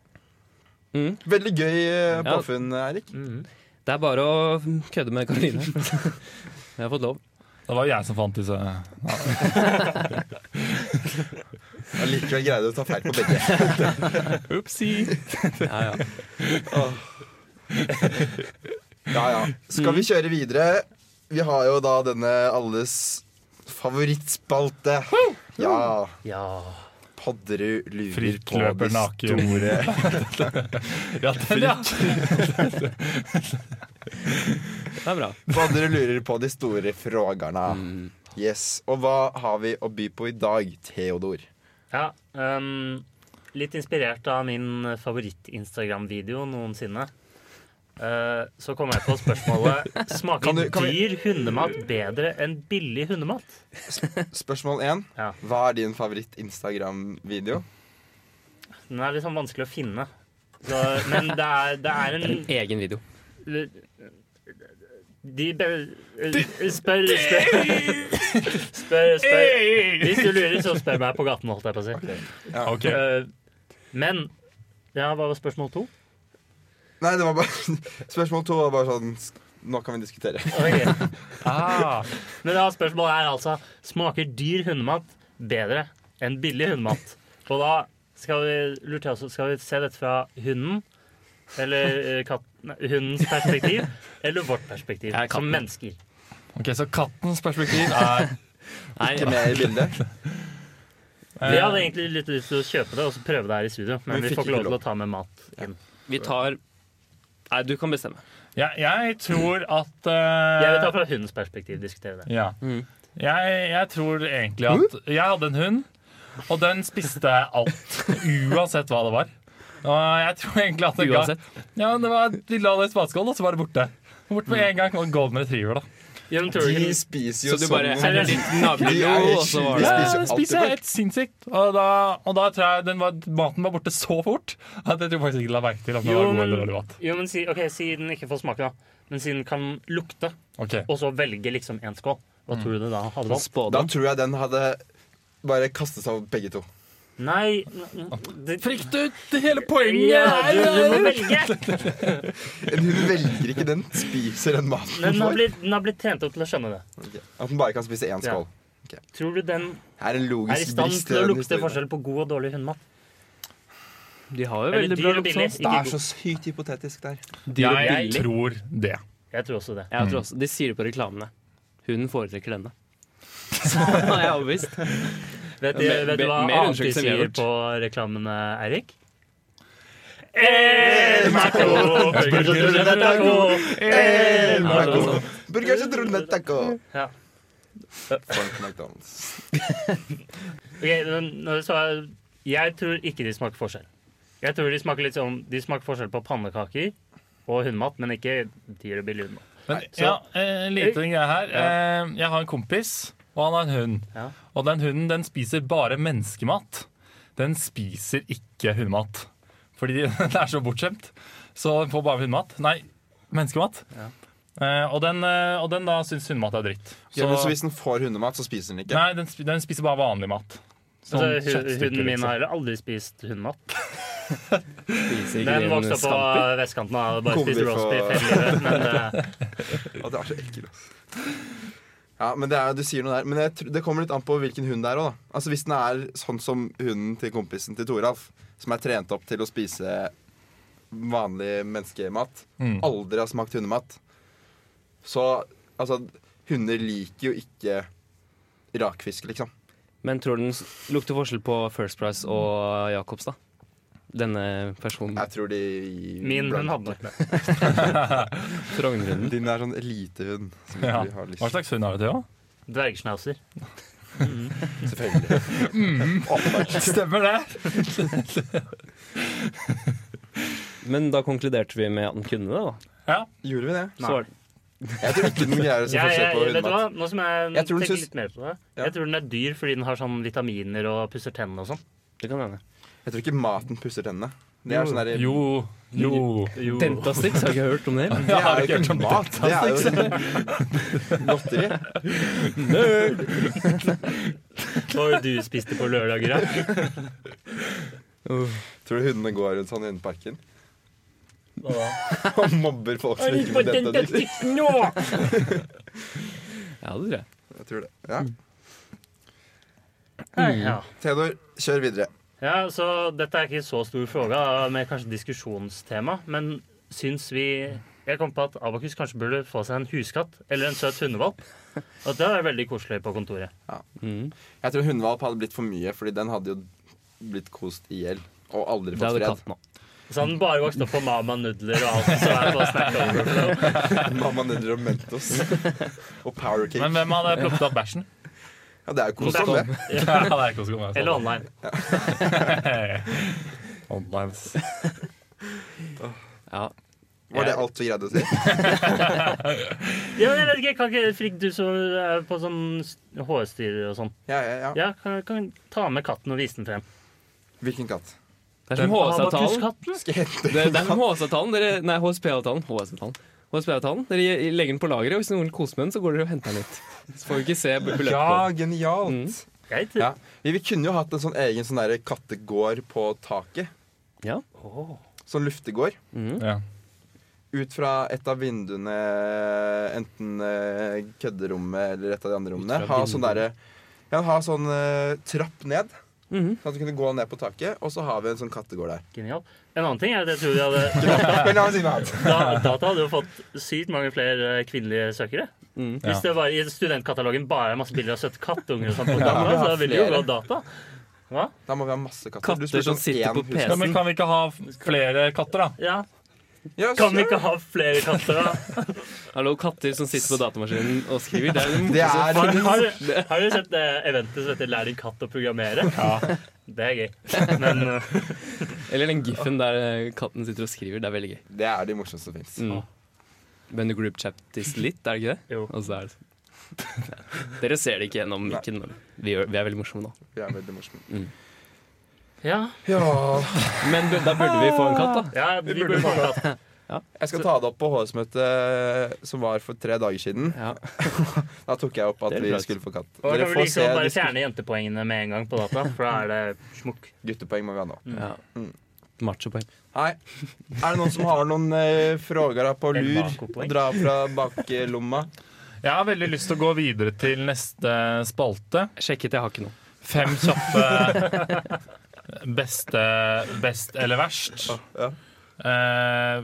Speaker 3: Mm.
Speaker 2: Veldig gøy eh,
Speaker 3: Ja.
Speaker 2: påfunn, Erik.
Speaker 4: Mhm.
Speaker 3: Det er bare å kødde med Karoline. Jeg har fått lov.
Speaker 1: Det var jeg som fant disse.
Speaker 2: Allikevel greide du å ta feil på begge.
Speaker 3: Upsi. Ja, ja.
Speaker 2: Ja, ja. Skal
Speaker 3: Mm.
Speaker 2: vi kjøre videre? Vi har jo da denne alles favorittspalte. Ja.
Speaker 4: Ja.
Speaker 2: Padderud lurer
Speaker 1: Frikk
Speaker 2: på
Speaker 1: løper
Speaker 2: de
Speaker 1: naken.
Speaker 2: store
Speaker 1: Ja, den, ja.
Speaker 3: Det er bra.
Speaker 2: Padderud lurer på de store frågarna.
Speaker 3: Mm.
Speaker 2: Yes. Og hva har vi å by på i dag, Theodor?
Speaker 4: ja ehm, litt inspirert av min favoritt-Instagram-video noensinne. Eh, så kom jeg på spørsmålet
Speaker 2: Kan
Speaker 4: Smaker
Speaker 2: du- kan vi-
Speaker 4: dyr hundemat bedre enn billig hundemat.
Speaker 2: Spørsmål én.
Speaker 4: Ja.
Speaker 2: Hva er din favoritt-Instagram-video?
Speaker 4: Den er litt sånn vanskelig å finne. Så, men det er, det er en
Speaker 3: Egen video.
Speaker 4: De be... Spør, spør, spør, spør. Hvis du lurer, så spør meg på gaten, holdt jeg på å si.
Speaker 1: Ok,
Speaker 4: Eh, Men ja, hva var spørsmål to?
Speaker 2: Nei, det var bare Spørsmål to var bare sånn sk- Nå kan vi diskutere.
Speaker 4: Ok.
Speaker 1: ah,
Speaker 4: Men da spørsmålet er altså Smaker dyr hundemat bedre enn billig hundemat? Og da skal vi, lurte jeg også, skal vi se dette fra hunden eller eh, katt, nei, hundens perspektiv eller vårt perspektiv
Speaker 3: Jeg er
Speaker 4: som
Speaker 3: katten.
Speaker 4: mennesker.
Speaker 1: ok, så kattens perspektiv er
Speaker 3: Nei,
Speaker 2: Ikke med i bildet.
Speaker 1: eh,
Speaker 4: Vi hadde egentlig litt lyst til å kjøpe det og så prøve det her i studio, men,
Speaker 2: Men
Speaker 4: vi
Speaker 2: fikk
Speaker 4: får ikke
Speaker 2: ikke
Speaker 4: lov til
Speaker 2: lov.
Speaker 4: å ta med mat inn.
Speaker 3: vi tar Nei, du kan bestemme.
Speaker 1: jeg, jeg tror at
Speaker 4: Jeg vil
Speaker 1: eh,
Speaker 4: ta fra hundens perspektiv diskutere det.
Speaker 1: Ja.
Speaker 3: Mm.
Speaker 1: Jeg, jeg tror egentlig at
Speaker 2: Mm?
Speaker 1: Jeg hadde en hund, og den spiste alt. Uansett hva det var. Og jeg tror egentlig at det ga-
Speaker 3: Uansett.
Speaker 1: Ja, det var et lille Alex Batskål, og så var det borte. Bort med en gang. Og en golden retriever, da.
Speaker 4: Ja, men tror du
Speaker 2: De
Speaker 4: ikke-
Speaker 2: spiser
Speaker 3: Så
Speaker 2: jo
Speaker 3: du
Speaker 2: sånn
Speaker 3: bare heller litt navlelo, og så var det
Speaker 1: Ja,
Speaker 2: spiser jo
Speaker 1: ja, den
Speaker 2: alt
Speaker 1: spiser
Speaker 2: de får.
Speaker 1: helt sinnssykt. Og da, og da tror jeg den var, maten var borte så fort at jeg tror faktisk ikke la merke til at den
Speaker 4: Jo,
Speaker 1: var god
Speaker 4: men-
Speaker 1: eller dårlig mat.
Speaker 4: Jo, men si, ok, si den ikke får smake, da. Men si den kan lukte,
Speaker 1: Ok,
Speaker 4: og så velge liksom én skål. Hva tror du det da hadde valgt?
Speaker 2: Da
Speaker 3: Spådom.
Speaker 2: tror jeg den hadde bare kastet seg over begge to.
Speaker 4: Nei n- n- det,
Speaker 1: Frikt ut det hele poenget
Speaker 4: ja,
Speaker 1: her!
Speaker 4: du, du må velge!
Speaker 2: En hund velger ikke den, spiser den maten
Speaker 4: Den
Speaker 2: den
Speaker 4: har,
Speaker 2: får.
Speaker 4: blitt, den har blitt trent opp til å skjønne det.
Speaker 2: Ok. At den bare kan spise én skål.
Speaker 4: Tror du den
Speaker 2: Her er en
Speaker 4: er i
Speaker 2: logisk
Speaker 4: stand
Speaker 2: brist i
Speaker 4: til å
Speaker 2: den
Speaker 4: lukte
Speaker 2: historien.
Speaker 4: forskjell på god og dårlig hundemat?
Speaker 3: De har jo
Speaker 4: Eller
Speaker 3: veldig bra
Speaker 4: dyr og billig.
Speaker 3: lukt.
Speaker 2: Det
Speaker 4: Ikke
Speaker 2: er så
Speaker 4: god.
Speaker 2: sykt hypotetisk der.
Speaker 3: Dyr og
Speaker 1: Jeg
Speaker 3: billig.
Speaker 1: tror det.
Speaker 4: Jeg tror også det.
Speaker 3: Jeg tror også, De sier det på reklamene. Hunden foretrekker denne. Så er jeg overbevist.
Speaker 4: Vet, du-
Speaker 3: Mer-
Speaker 4: vet du hva
Speaker 3: mer
Speaker 4: annet de
Speaker 3: undersøkelse enn vi har
Speaker 4: sier
Speaker 3: gjort.
Speaker 4: på reklamene, Eirik?
Speaker 2: Ja, det er
Speaker 4: Ja,
Speaker 2: sant. Burger som tror den er taco.
Speaker 4: Ja.
Speaker 2: Frank McDonald's.
Speaker 4: Ok, men nå sa jeg Jeg tror ikke de smaker forskjell. Jeg tror de smaker litt sånn De smaker forskjell på pannekaker og hundemat, men ikke dyr og billig hundemat.
Speaker 1: Men, ja, en liten greie her. Eh, Jeg har en kompis, og han har en hund.
Speaker 4: Ja.
Speaker 1: Og den hunden den spiser bare menneskemat. Den spiser ikke hundemat. Fordi den er så bortskjemt. Så den får bare hundemat. Nei, menneskemat. Eh, og, den, eh, og den da syns hundemat er dritt.
Speaker 2: Ja, men så hvis den får hundemat, så spiser den ikke?
Speaker 1: Nei, den, sp- den spiser bare vanlig mat. Sånn
Speaker 4: Altså, hu-
Speaker 1: kjøttstykker,
Speaker 4: hunden min
Speaker 1: liksom.
Speaker 4: har heller aldri spist hundemat.
Speaker 3: Spiser ikke
Speaker 4: Den
Speaker 3: de en
Speaker 4: vokste opp på
Speaker 3: scampi?
Speaker 4: vestkanten og har bare
Speaker 2: Kommer
Speaker 4: spist
Speaker 2: fra-
Speaker 4: roast beef hele livet. Men eh,
Speaker 2: Å, det er så ekkelt, ass. Ja, men det er, du sier noe der. Men jeg, tr- det kommer litt an på hvilken hund det er òg, da. Altså, hvis den er sånn som hunden til kompisen til Toralf, som er trent opp til å spise vanlig menneskemat,
Speaker 1: Mm.
Speaker 2: aldri har smakt hundemat, så Altså, hunder liker jo ikke rakfisk, liksom.
Speaker 3: Men tror du den s- lukter forskjell på First Price og Jacobs, da? Denne
Speaker 1: Mm.
Speaker 3: personen.
Speaker 2: Jeg tror de
Speaker 4: min hund hadde nok det.
Speaker 3: Trognhunden.
Speaker 2: Din er sånn elitehund. som
Speaker 1: Ja.
Speaker 2: ikke har lyst
Speaker 1: Hva slags hund har du til? da?
Speaker 4: Dvergschnauzer.
Speaker 2: Selvfølgelig.
Speaker 1: Mm. Stemmer det?
Speaker 3: Men da konkluderte vi med at den kunne det, da.
Speaker 4: Ja.
Speaker 2: Gjorde vi det?
Speaker 3: Så var det.
Speaker 2: Jeg tror ikke den greier å se
Speaker 4: Jeg,
Speaker 2: forskjell på
Speaker 4: jeg, vet du hva?
Speaker 2: hundematt.
Speaker 4: Nå som jeg,
Speaker 2: Jeg tror den
Speaker 4: tenker
Speaker 2: syns-
Speaker 4: litt mer på det
Speaker 2: Ja.
Speaker 4: Jeg tror den er dyr fordi den har sånn vitaminer og pusser tennene og sånn.
Speaker 3: Det kan hende.
Speaker 2: Jeg tror ikke maten pusser tennene. Det er sånn der,
Speaker 1: Jo, jo.
Speaker 3: Dentastix, har jeg ikke hørt om det?
Speaker 2: det
Speaker 1: har
Speaker 2: er
Speaker 1: ikke altså.
Speaker 2: jo
Speaker 1: hørt
Speaker 2: ikke
Speaker 1: om
Speaker 2: mat. Det er jo godteri.
Speaker 4: Hva var det du spiste på lørdager? da?
Speaker 2: Tror du hundene går rundt sånn i hundeparken
Speaker 4: Hva da?
Speaker 2: og mobber folk som ikke får dentadix?
Speaker 3: Ja, det tror jeg.
Speaker 2: Jeg tror det. Ja.
Speaker 4: Ja.
Speaker 2: Theodor, kjør videre.
Speaker 4: ja, så dette er ikke så stor fråga, med kanskje diskusjonstema, men syns vi Jeg kom på at Abakus kanskje burde få seg en huskatt eller en søt hundevalp. Og det er veldig koselig på kontoret.
Speaker 3: Mm.
Speaker 2: Jeg tror hundevalp hadde blitt for mye, Fordi den hadde jo blitt kost i hjel. Og aldri
Speaker 3: Det
Speaker 2: fått
Speaker 3: hadde
Speaker 2: fred.
Speaker 3: katten òg.
Speaker 4: Så han bare vokste opp på Mama Nudler og alt som er på Snack Overflow.
Speaker 2: Mamma Nudler og Mentos. Og Power Cake.
Speaker 1: Men hvem hadde plukket opp bæsjen?
Speaker 2: Ja, det er jo kos om det.
Speaker 1: Ja, det er ikke så altså. godt.
Speaker 4: Eller online.
Speaker 1: Online.
Speaker 3: Ja.
Speaker 2: Var det alt du greide å si?
Speaker 4: Ja, men jeg vet ikke, kan ikke Frigg, du som er på sånn HR-styrer og sånn,
Speaker 2: Ja, ja, ja.
Speaker 4: ja, kan, kan ta med katten og vise den frem?
Speaker 2: Hvilken katt?
Speaker 3: Det er sånn som HS-avtalen.
Speaker 4: Abakus-katten?
Speaker 2: Skal jeg hente
Speaker 3: Det, det er sånn som HS-avtalen. Dere, nei, HSP-avtalen. HSP-avtalen. HSP-avtalen. Dere gi- legger den på lageret, og hvis noen koser med den, så går dere og henter den ut. Så får vi ikke se bu- beløpet.
Speaker 2: Ja, genialt!
Speaker 4: Greit.
Speaker 2: Ja. Vi, vi kunne jo hatt en sånn egen sånn der kattegård på taket.
Speaker 3: Ja.
Speaker 4: Åh.
Speaker 2: Sånn luftegård.
Speaker 3: Mhm.
Speaker 1: Ja.
Speaker 2: Ut fra et av vinduene, enten eh, kødderommet eller et av de andre rommene. Ha sånn derre ja, ha sånn eh, trapp ned,
Speaker 3: Mhm.
Speaker 2: sånn at du kunne gå ned på taket. Og så har vi en sånn kattegård der.
Speaker 4: Genial. En annen ting er at jeg tror vi hadde
Speaker 2: Men la meg si noe annet.
Speaker 4: da, Data hadde jo fått sykt mange flere eh, kvinnelige søkere.
Speaker 3: Mhm.
Speaker 1: Mm. Ja.
Speaker 4: Mm. Hvis det var i studentkatalogen bare er masse bilder av søte kattunger og sånt på
Speaker 2: Da må vi
Speaker 4: data,
Speaker 2: ha
Speaker 4: så ville det jo
Speaker 2: flere.
Speaker 4: gå data. Hva?
Speaker 2: Da må vi ha masse katter.
Speaker 3: Katter
Speaker 2: Du spurte
Speaker 3: som
Speaker 2: om
Speaker 3: sitter
Speaker 2: én
Speaker 3: på
Speaker 2: hus-
Speaker 1: ja, Men kan vi ikke ha flere katter, da?
Speaker 4: Ja.
Speaker 2: Ja,
Speaker 4: Kan vi
Speaker 2: sure.
Speaker 4: ikke ha flere katter, da?
Speaker 3: Hallo, katter som sitter på datamaskinen og skriver. Det er det
Speaker 2: Det
Speaker 3: morsomste.
Speaker 4: Har,
Speaker 2: er
Speaker 4: har, har du sett det eventet som heter 'Lær din katt å programmere'? Ja. Det er gøy. Men eh,
Speaker 3: Eller den gif-en der eh, katten sitter og skriver. Det er veldig gøy.
Speaker 2: Det er de morsomste som fins.
Speaker 3: Mm. Men the group chat is lit, er det ikke det?
Speaker 4: jo.
Speaker 3: Og så er det sånn. Dere ser det ikke gjennom mikken, men vi, gjør, vi er veldig morsomme nå.
Speaker 2: Vi er veldig morsomme.
Speaker 4: Ja,
Speaker 2: Ja.
Speaker 3: Men bu- da burde vi få en katt, da.
Speaker 4: ja vi burde få en katt.
Speaker 2: Jeg skal ta det opp på HS-møtet som var for tre dager siden.
Speaker 3: Ja.
Speaker 2: Da tok jeg opp at
Speaker 3: Det er
Speaker 2: vi
Speaker 3: flaut.
Speaker 2: skulle få katt.
Speaker 4: Og da
Speaker 2: Dere
Speaker 4: kan vi
Speaker 2: får se
Speaker 4: liksom bare
Speaker 2: disse
Speaker 4: fjerne jentepoengene med en gang på data, for da er det smukk.
Speaker 2: guttepoeng må vi ha nå.
Speaker 3: ja. Machopoeng.
Speaker 2: Hei. Er det noen som har noen eh, frågere på
Speaker 4: En
Speaker 2: lur?
Speaker 4: bakopoeng.
Speaker 2: Å dra fra baklomma?
Speaker 1: Jeg har veldig lyst til å gå videre til neste spalte.
Speaker 3: Sjekket, jeg har ikke noe.
Speaker 1: Fem kjappe beste Best eller verst.
Speaker 2: Ah, Ja.
Speaker 1: Eh,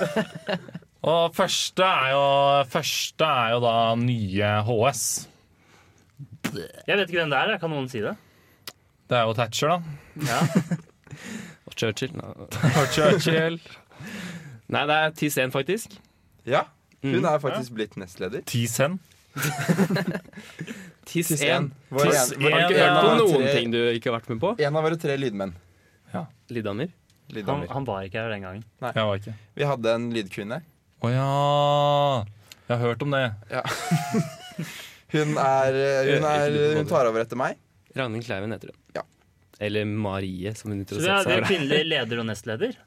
Speaker 1: og første er jo Første er jo da nye HS.
Speaker 4: Jeg vet ikke hvem det er. Kan noen si det?
Speaker 1: Det er jo Thatcher, da.
Speaker 4: Ja.
Speaker 3: Og Churchill. Nei.
Speaker 1: Og Churchill.
Speaker 3: Nei, det er Tissen, faktisk.
Speaker 2: ja. Hun er faktisk blitt nestleder.
Speaker 1: T-Sen.
Speaker 3: Tissen.
Speaker 2: Vår en-
Speaker 1: Tiss en.
Speaker 2: vår- en
Speaker 3: Har du ikke
Speaker 2: av
Speaker 3: hørt på
Speaker 2: våre
Speaker 3: noen
Speaker 2: tre-
Speaker 3: ting du ikke har vært med på?
Speaker 2: En av våre tre lydmenn.
Speaker 3: Lydhammer.
Speaker 4: Han,
Speaker 2: Lyddommer.
Speaker 4: han var ikke her den gangen.
Speaker 1: Jeg var ikke
Speaker 2: Vi hadde en lydkvinne.
Speaker 1: Å ja. Jeg har hørt om det.
Speaker 2: Hun, er, eh, hun, er, hun tar over etter meg.
Speaker 3: Ragnhild Kleiven heter hun.
Speaker 2: Ja.
Speaker 3: Eller Marie, som hun
Speaker 4: Så
Speaker 3: heter.
Speaker 4: vi har, vi har kvinnelig leder og nestleder.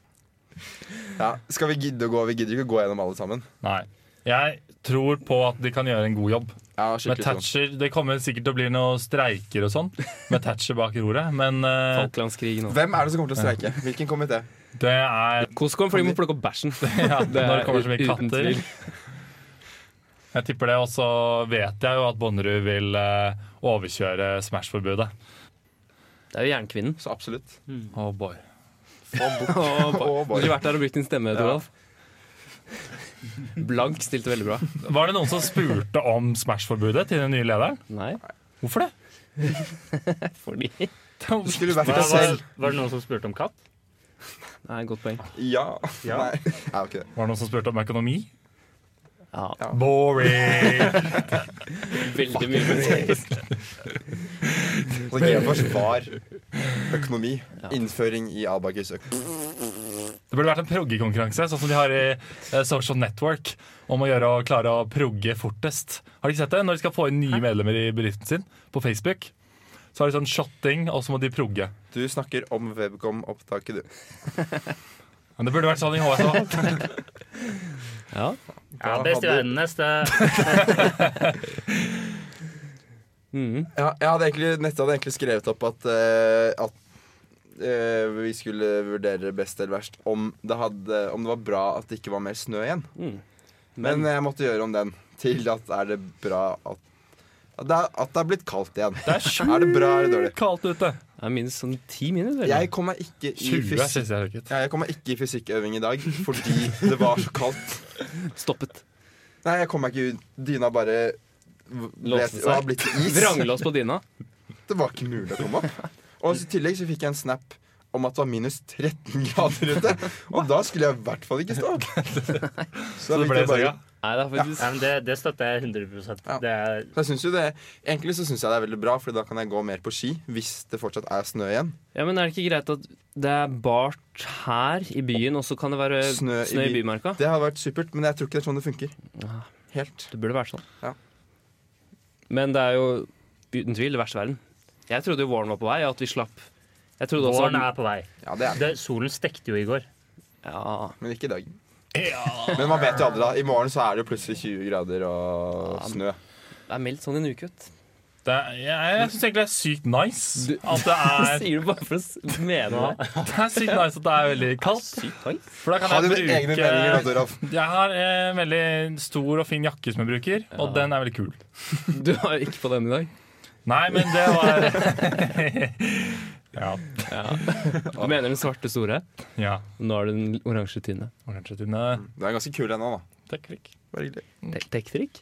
Speaker 2: Ja. Skal vi gidde å gå? Vi gidder ikke å gå gjennom alle sammen.
Speaker 1: Nei. Jeg tror på at de kan gjøre en god jobb.
Speaker 2: Ja,
Speaker 1: Med
Speaker 2: skikkelig sånn.
Speaker 1: Thatcher, Det kommer sikkert til å bli noen streiker og sånn med Thatcher bak roret, men eh,
Speaker 3: Falklandskrigen og
Speaker 2: Hvem er det som kommer til å streike? Hvilken komité?
Speaker 1: det er
Speaker 3: Koskon, for de må plukke opp bæsjen.
Speaker 1: ja, Når det kommer så mye
Speaker 3: uten
Speaker 1: katter.
Speaker 3: tvil.
Speaker 1: Jeg tipper det, Og så vet jeg jo at Bonnerud vil eh, overkjøre Smash-forbudet.
Speaker 3: Det er jo Jernkvinnen.
Speaker 2: Så absolutt.
Speaker 1: Oh boy.
Speaker 3: Åh,
Speaker 2: Åh,
Speaker 3: boy.
Speaker 2: boy.
Speaker 3: Skulle vært der og brukt din stemme,
Speaker 2: Ja.
Speaker 3: Toralf. Blank stilte veldig bra.
Speaker 1: Var det noen som spurte om Smash-forbudet til den nye lederen?
Speaker 3: Nei,
Speaker 1: Hvorfor det?
Speaker 3: fordi
Speaker 2: Du skulle vært
Speaker 4: Hva,
Speaker 2: deg
Speaker 4: var,
Speaker 2: selv.
Speaker 4: var det noen som spurte om katt?
Speaker 3: Nei, godt poeng.
Speaker 2: Ja.
Speaker 4: Ja.
Speaker 2: Nei. Nei, ok.
Speaker 1: Var det noen som spurte om økonomi?
Speaker 3: Ja,
Speaker 1: Boring!
Speaker 3: veldig mye.
Speaker 2: Så GFors var økonomi. Innføring i Abakus økonomi.
Speaker 1: Det burde vært en proggekonkurranse, sånn som de har i eh, Social Network. Om å gjøre å klare å progge fortest. Har de ikke sett det? Når de skal få inn nye medlemmer i bedriften sin på Facebook, så har de sånn shotting, og så må de progge.
Speaker 2: Du snakker om Webcom-opptaket, du.
Speaker 1: Men det burde vært sånn i HS òg.
Speaker 3: Ja.
Speaker 4: Ja, best i
Speaker 2: hadde-
Speaker 4: verden neste.
Speaker 3: Mm.
Speaker 2: Ja, jeg hadde egentlig, Nettet hadde egentlig skrevet opp at, eh, at eh, vi skulle vurdere best eller verst om det, hadde, om det var bra at det ikke var mer snø igjen.
Speaker 3: Mm.
Speaker 2: Men, jeg måtte gjøre om den til at er det bra at at det, er, at det er blitt kaldt igjen.
Speaker 1: Det er
Speaker 2: Er det bra eller dårlig?
Speaker 1: sjukt kaldt ute.
Speaker 3: Det er minus sånn ti minus, eller?
Speaker 2: Jeg kom meg ikke i
Speaker 1: 20 er
Speaker 2: fysikk.
Speaker 1: siste jeg sjekket.
Speaker 2: Ja, jeg kom meg ikke i fysikkøving i dag fordi det var så kaldt.
Speaker 3: Stoppet.
Speaker 2: Nei, jeg kom meg ikke ut. Dyna bare v- ble,
Speaker 3: Låste seg.
Speaker 2: var blitt til is.
Speaker 3: Vrangla oss på dyna.
Speaker 2: Det var ikke mulig å komme opp. Og i tillegg så fikk jeg en snap om at det var minus 13 grader ute. Og da skulle jeg i hvert fall ikke stå opp.
Speaker 1: Så det ble senga.
Speaker 3: Nei, det er faktisk
Speaker 4: Ja, men det, det støtter jeg 100
Speaker 2: Ja.
Speaker 4: Det er
Speaker 2: Så jeg synes jo det, Egentlig så syns jeg det er veldig bra, for da kan jeg gå mer på ski hvis det fortsatt er snø igjen.
Speaker 3: Ja, men er det ikke greit at det er bart her i byen, og så kan det være Eh, snø,
Speaker 2: Snø i
Speaker 3: i
Speaker 2: by-
Speaker 3: bymarka? Ah.
Speaker 2: Det hadde vært supert, men jeg tror ikke det er sånn det funker.
Speaker 3: Ja.
Speaker 2: Helt.
Speaker 3: Det burde vært sånn.
Speaker 2: Ja.
Speaker 3: Men det er jo uten tvil det verste verden. Jeg trodde jo våren var på vei, og at vi slapp. Jeg trodde også
Speaker 4: Våren er på vei.
Speaker 2: Ja, det er det.
Speaker 4: Det, solen stekte jo i går.
Speaker 3: Ja,
Speaker 2: Men ikke i dag. Men man vet jo aldri, da. I morgen så er det jo plutselig 20 grader
Speaker 3: Ah.
Speaker 2: og snø.
Speaker 3: det er meldt sånn i en uke, vet du.
Speaker 1: Det er- Jeg, jeg syns egentlig det er sykt nice
Speaker 3: Du-
Speaker 1: at det
Speaker 3: Jeg
Speaker 1: er
Speaker 3: sier det bare for å s- mene det.
Speaker 1: Det er sykt nice at det er veldig kaldt.
Speaker 3: Sykt nice.
Speaker 1: For da
Speaker 2: Ha
Speaker 1: kan
Speaker 2: dine
Speaker 1: jeg
Speaker 2: egne meninger, altså. Odd
Speaker 1: bruke
Speaker 2: Olav.
Speaker 1: Jeg har eh, en veldig stor og fin jakke som jeg bruker, og den er veldig kul.
Speaker 3: Du var jo ikke på den i dag.
Speaker 1: Nei, men det var Ja.
Speaker 3: Du mener den svarte store.
Speaker 1: ja.
Speaker 3: Nå er det den oransje tynne.
Speaker 1: Kanskje Tine
Speaker 2: Du er ganske kul ennå, da.
Speaker 1: Tekrik.
Speaker 2: Bare hyggelig.
Speaker 3: Tek- Tektrikk?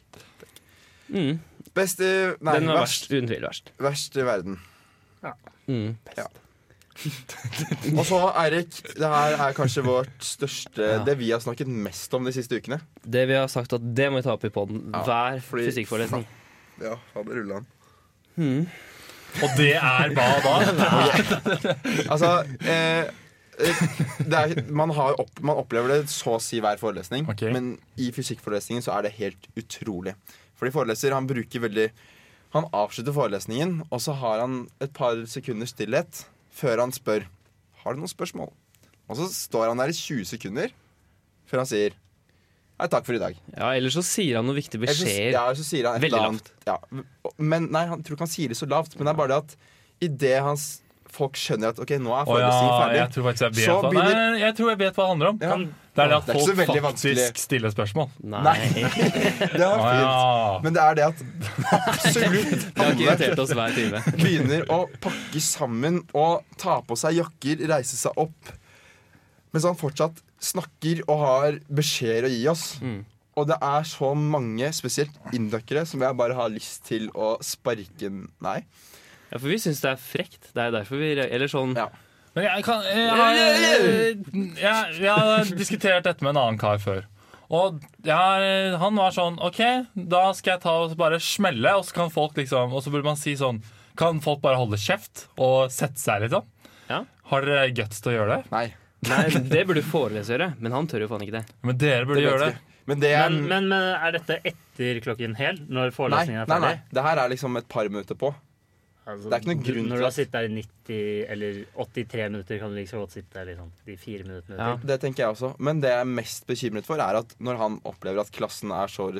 Speaker 3: Mm.
Speaker 2: Best i Nei,
Speaker 3: Den var
Speaker 2: verst.
Speaker 3: verst. Uten tvil verst.
Speaker 2: Verst i verden.
Speaker 3: Mm.
Speaker 2: Og så, Eirik, det her er kanskje vårt største Det vi har snakket mest om de siste ukene.
Speaker 3: Det vi har sagt at det må vi ta opp i poden
Speaker 2: Ja,
Speaker 3: hver
Speaker 2: fordi-
Speaker 3: fysikkforelesning.
Speaker 2: Ja, fader rullan.
Speaker 1: Og det er hva da?
Speaker 2: Altså, eh, eh, det er, man, har opp, man opplever det så å si hver forelesning,
Speaker 1: Ok.
Speaker 2: men i fysikkforelesningen så er det helt utrolig. Fordi foreleser han bruker veldig Han avslutter forelesningen, og så har han et par sekunders stillhet før han spør Har du noen spørsmål. Og så står han der i 20 sekunder før han sier Nei, takk for i dag.
Speaker 3: Ja, Eller så sier han noen viktige
Speaker 2: Eller så-
Speaker 3: beskjeder.
Speaker 2: Ja, så sier han et
Speaker 3: Veldig
Speaker 2: eller annet. Ja. Men, nei, han tror ikke han sier det så lavt, men det er bare det at idet hans folk skjønner at ok,
Speaker 1: Å
Speaker 2: nå er
Speaker 1: ja,
Speaker 2: forelesningen
Speaker 1: jeg
Speaker 2: ferdig
Speaker 1: tror faktisk jeg vet,
Speaker 2: Så
Speaker 1: hva.
Speaker 2: begynner-
Speaker 1: Nei, jeg tror jeg vet hva det handler om.
Speaker 2: ja.
Speaker 1: Det er det at
Speaker 2: Det er ikke så
Speaker 1: folk
Speaker 2: veldig
Speaker 1: faktisk
Speaker 2: vanskelig.
Speaker 1: stiller spørsmål.
Speaker 3: Nei.
Speaker 2: Det er
Speaker 1: Å
Speaker 2: fint.
Speaker 1: Ah, ja.
Speaker 2: Men det er det at absolutt
Speaker 3: Det har ikke irritert
Speaker 2: alle
Speaker 3: oss hver time.
Speaker 2: begynner å pakke sammen og ta på seg jakker, reise seg opp, mens han fortsatt snakker og har beskjeder å gi oss.
Speaker 3: Mm.
Speaker 2: Og det er så mange, spesielt inndøkkere, som jeg bare har lyst til å sparke Nei.
Speaker 3: Ja, For vi syns det er frekt. Det er derfor vi Eller sånn
Speaker 2: Ja.
Speaker 1: Men jeg kan Jeg har, eh, jeg, jeg har diskutert dette med en annen kar før. Og jeg, har- han var sånn OK, da skal jeg ta og bare smelle, og så kan folk liksom Og så burde man si sånn Kan folk bare holde kjeft og sette seg, liksom?
Speaker 3: Ja.
Speaker 1: Har dere guts til å gjøre det?
Speaker 2: nei.
Speaker 3: Nei, det burde foreleser gjøre, men han tør jo faen ikke det.
Speaker 1: Men dere burde
Speaker 2: Det vet
Speaker 1: gjøre
Speaker 2: vi.
Speaker 1: det.
Speaker 2: Men det er
Speaker 4: Men, men, men er dette etter klokken hel? Når
Speaker 2: Nei,
Speaker 4: forelesningen er
Speaker 2: nei,
Speaker 4: ferdig?
Speaker 2: nei. Det her er liksom et par minutter på.
Speaker 4: Altså,
Speaker 2: Det er ikke noen
Speaker 4: du-
Speaker 2: grunn
Speaker 4: Når
Speaker 2: til
Speaker 4: du har
Speaker 2: at-
Speaker 4: sittet der i 90 eller 83 minutter, kan du like så godt sitte der liksom, de fire minuttene
Speaker 3: Ja.
Speaker 4: til.
Speaker 2: Det tenker jeg også. Men det jeg er mest bekymret for, er at når han opplever at klassen er så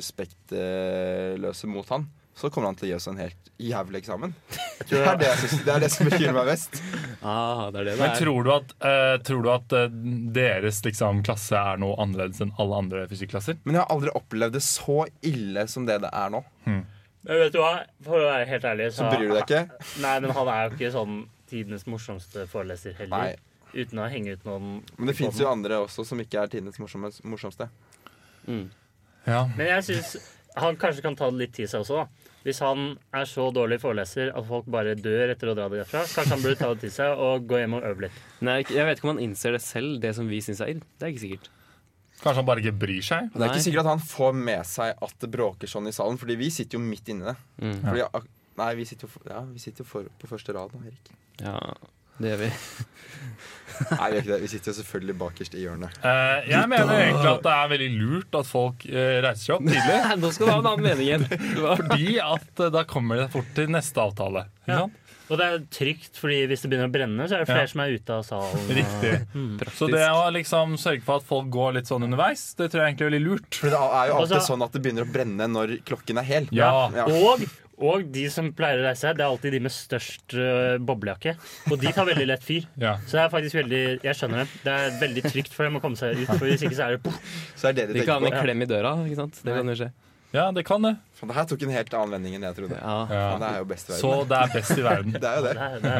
Speaker 2: respektløse mot han, så kommer han til å gi oss en helt jævlig eksamen. Det er det, jeg synes, det, er det som bekymrer meg mest.
Speaker 3: Ah, det er det det
Speaker 1: Men
Speaker 3: er.
Speaker 1: tror du at, eh, tror du at eh, deres liksom, klasse er noe annerledes enn alle andre fysikklasser?
Speaker 2: Men jeg har aldri opplevd det så ille som det det er nå.
Speaker 4: Men vet du hva, for å være helt ærlig
Speaker 2: Så bryr du deg ikke?
Speaker 4: Nei, men han er jo ikke sånn tidenes morsomste
Speaker 2: Nei.
Speaker 4: foreleser heller. Uten å henge ut noen
Speaker 2: Men det fins jo andre også som ikke er tidenes morsomme- morsomste.
Speaker 1: Ja.
Speaker 4: Men jeg syns han kanskje kan ta det litt til seg også. da. Hvis han er så dårlig foreleser at folk bare dør etter å dra det derfra, kanskje han burde ta det til seg og gå hjem og øve litt.
Speaker 3: Nei, jeg vet ikke om han innser det selv, det som vi syns er irr. Det er ikke sikkert.
Speaker 1: Kanskje han bare ikke bryr seg?
Speaker 2: Og det er
Speaker 3: Nei.
Speaker 2: ikke sikkert at han får med seg at det bråker sånn i salen, fordi vi sitter jo midt inni det. Fordi ak- Nei, vi sitter jo, for, ja, vi sitter jo for, på første rad nå, Erik.
Speaker 3: Ja, det gjør vi.
Speaker 2: Nei, vi gjør ikke det. Vi sitter jo selvfølgelig bakerst i hjørnet.
Speaker 1: Eh, jeg mener egentlig at det er veldig lurt at folk eh, reiser seg opp tidlig.
Speaker 3: Nå skal du ha en annen mening igjen. Du var-
Speaker 1: Fordi at eh, da kommer det fort til neste avtale. Ikke
Speaker 4: Ja.
Speaker 1: sant?
Speaker 4: Og det er trygt, fordi hvis det begynner å brenne, så er det flere
Speaker 1: Ja.
Speaker 4: som er ute av salen.
Speaker 2: Mm.
Speaker 1: Riktig. Mm. Så det å liksom sørge for at folk går litt sånn underveis, det tror jeg egentlig er veldig lurt.
Speaker 2: For det er jo alltid
Speaker 4: Altså-
Speaker 2: sånn at det begynner å brenne når klokken er hel.
Speaker 1: Ja.
Speaker 2: Ja.
Speaker 4: Og, og de som pleier å reise seg, det er alltid de med størst øh, boblejakke. Og de tar veldig lett fyr.
Speaker 1: Ja.
Speaker 4: Så det er faktisk veldig Jeg skjønner dem. Det er veldig trygt for dem å komme seg ut, for hvis ikke så er det poff.
Speaker 2: Så er det
Speaker 3: De
Speaker 2: dere
Speaker 3: kan ha
Speaker 2: tenker på.
Speaker 3: en klem i døra, ikke sant? Det kan jo skje.
Speaker 1: ja, det kan det.
Speaker 2: Faen, Det her tok en helt annen vending enn jeg trodde.
Speaker 3: Ja.
Speaker 2: Ja, det
Speaker 1: Ja.
Speaker 2: er jo best i
Speaker 1: Så
Speaker 2: verden.
Speaker 1: det er best i verden.
Speaker 2: Det er jo det.
Speaker 4: Det er- det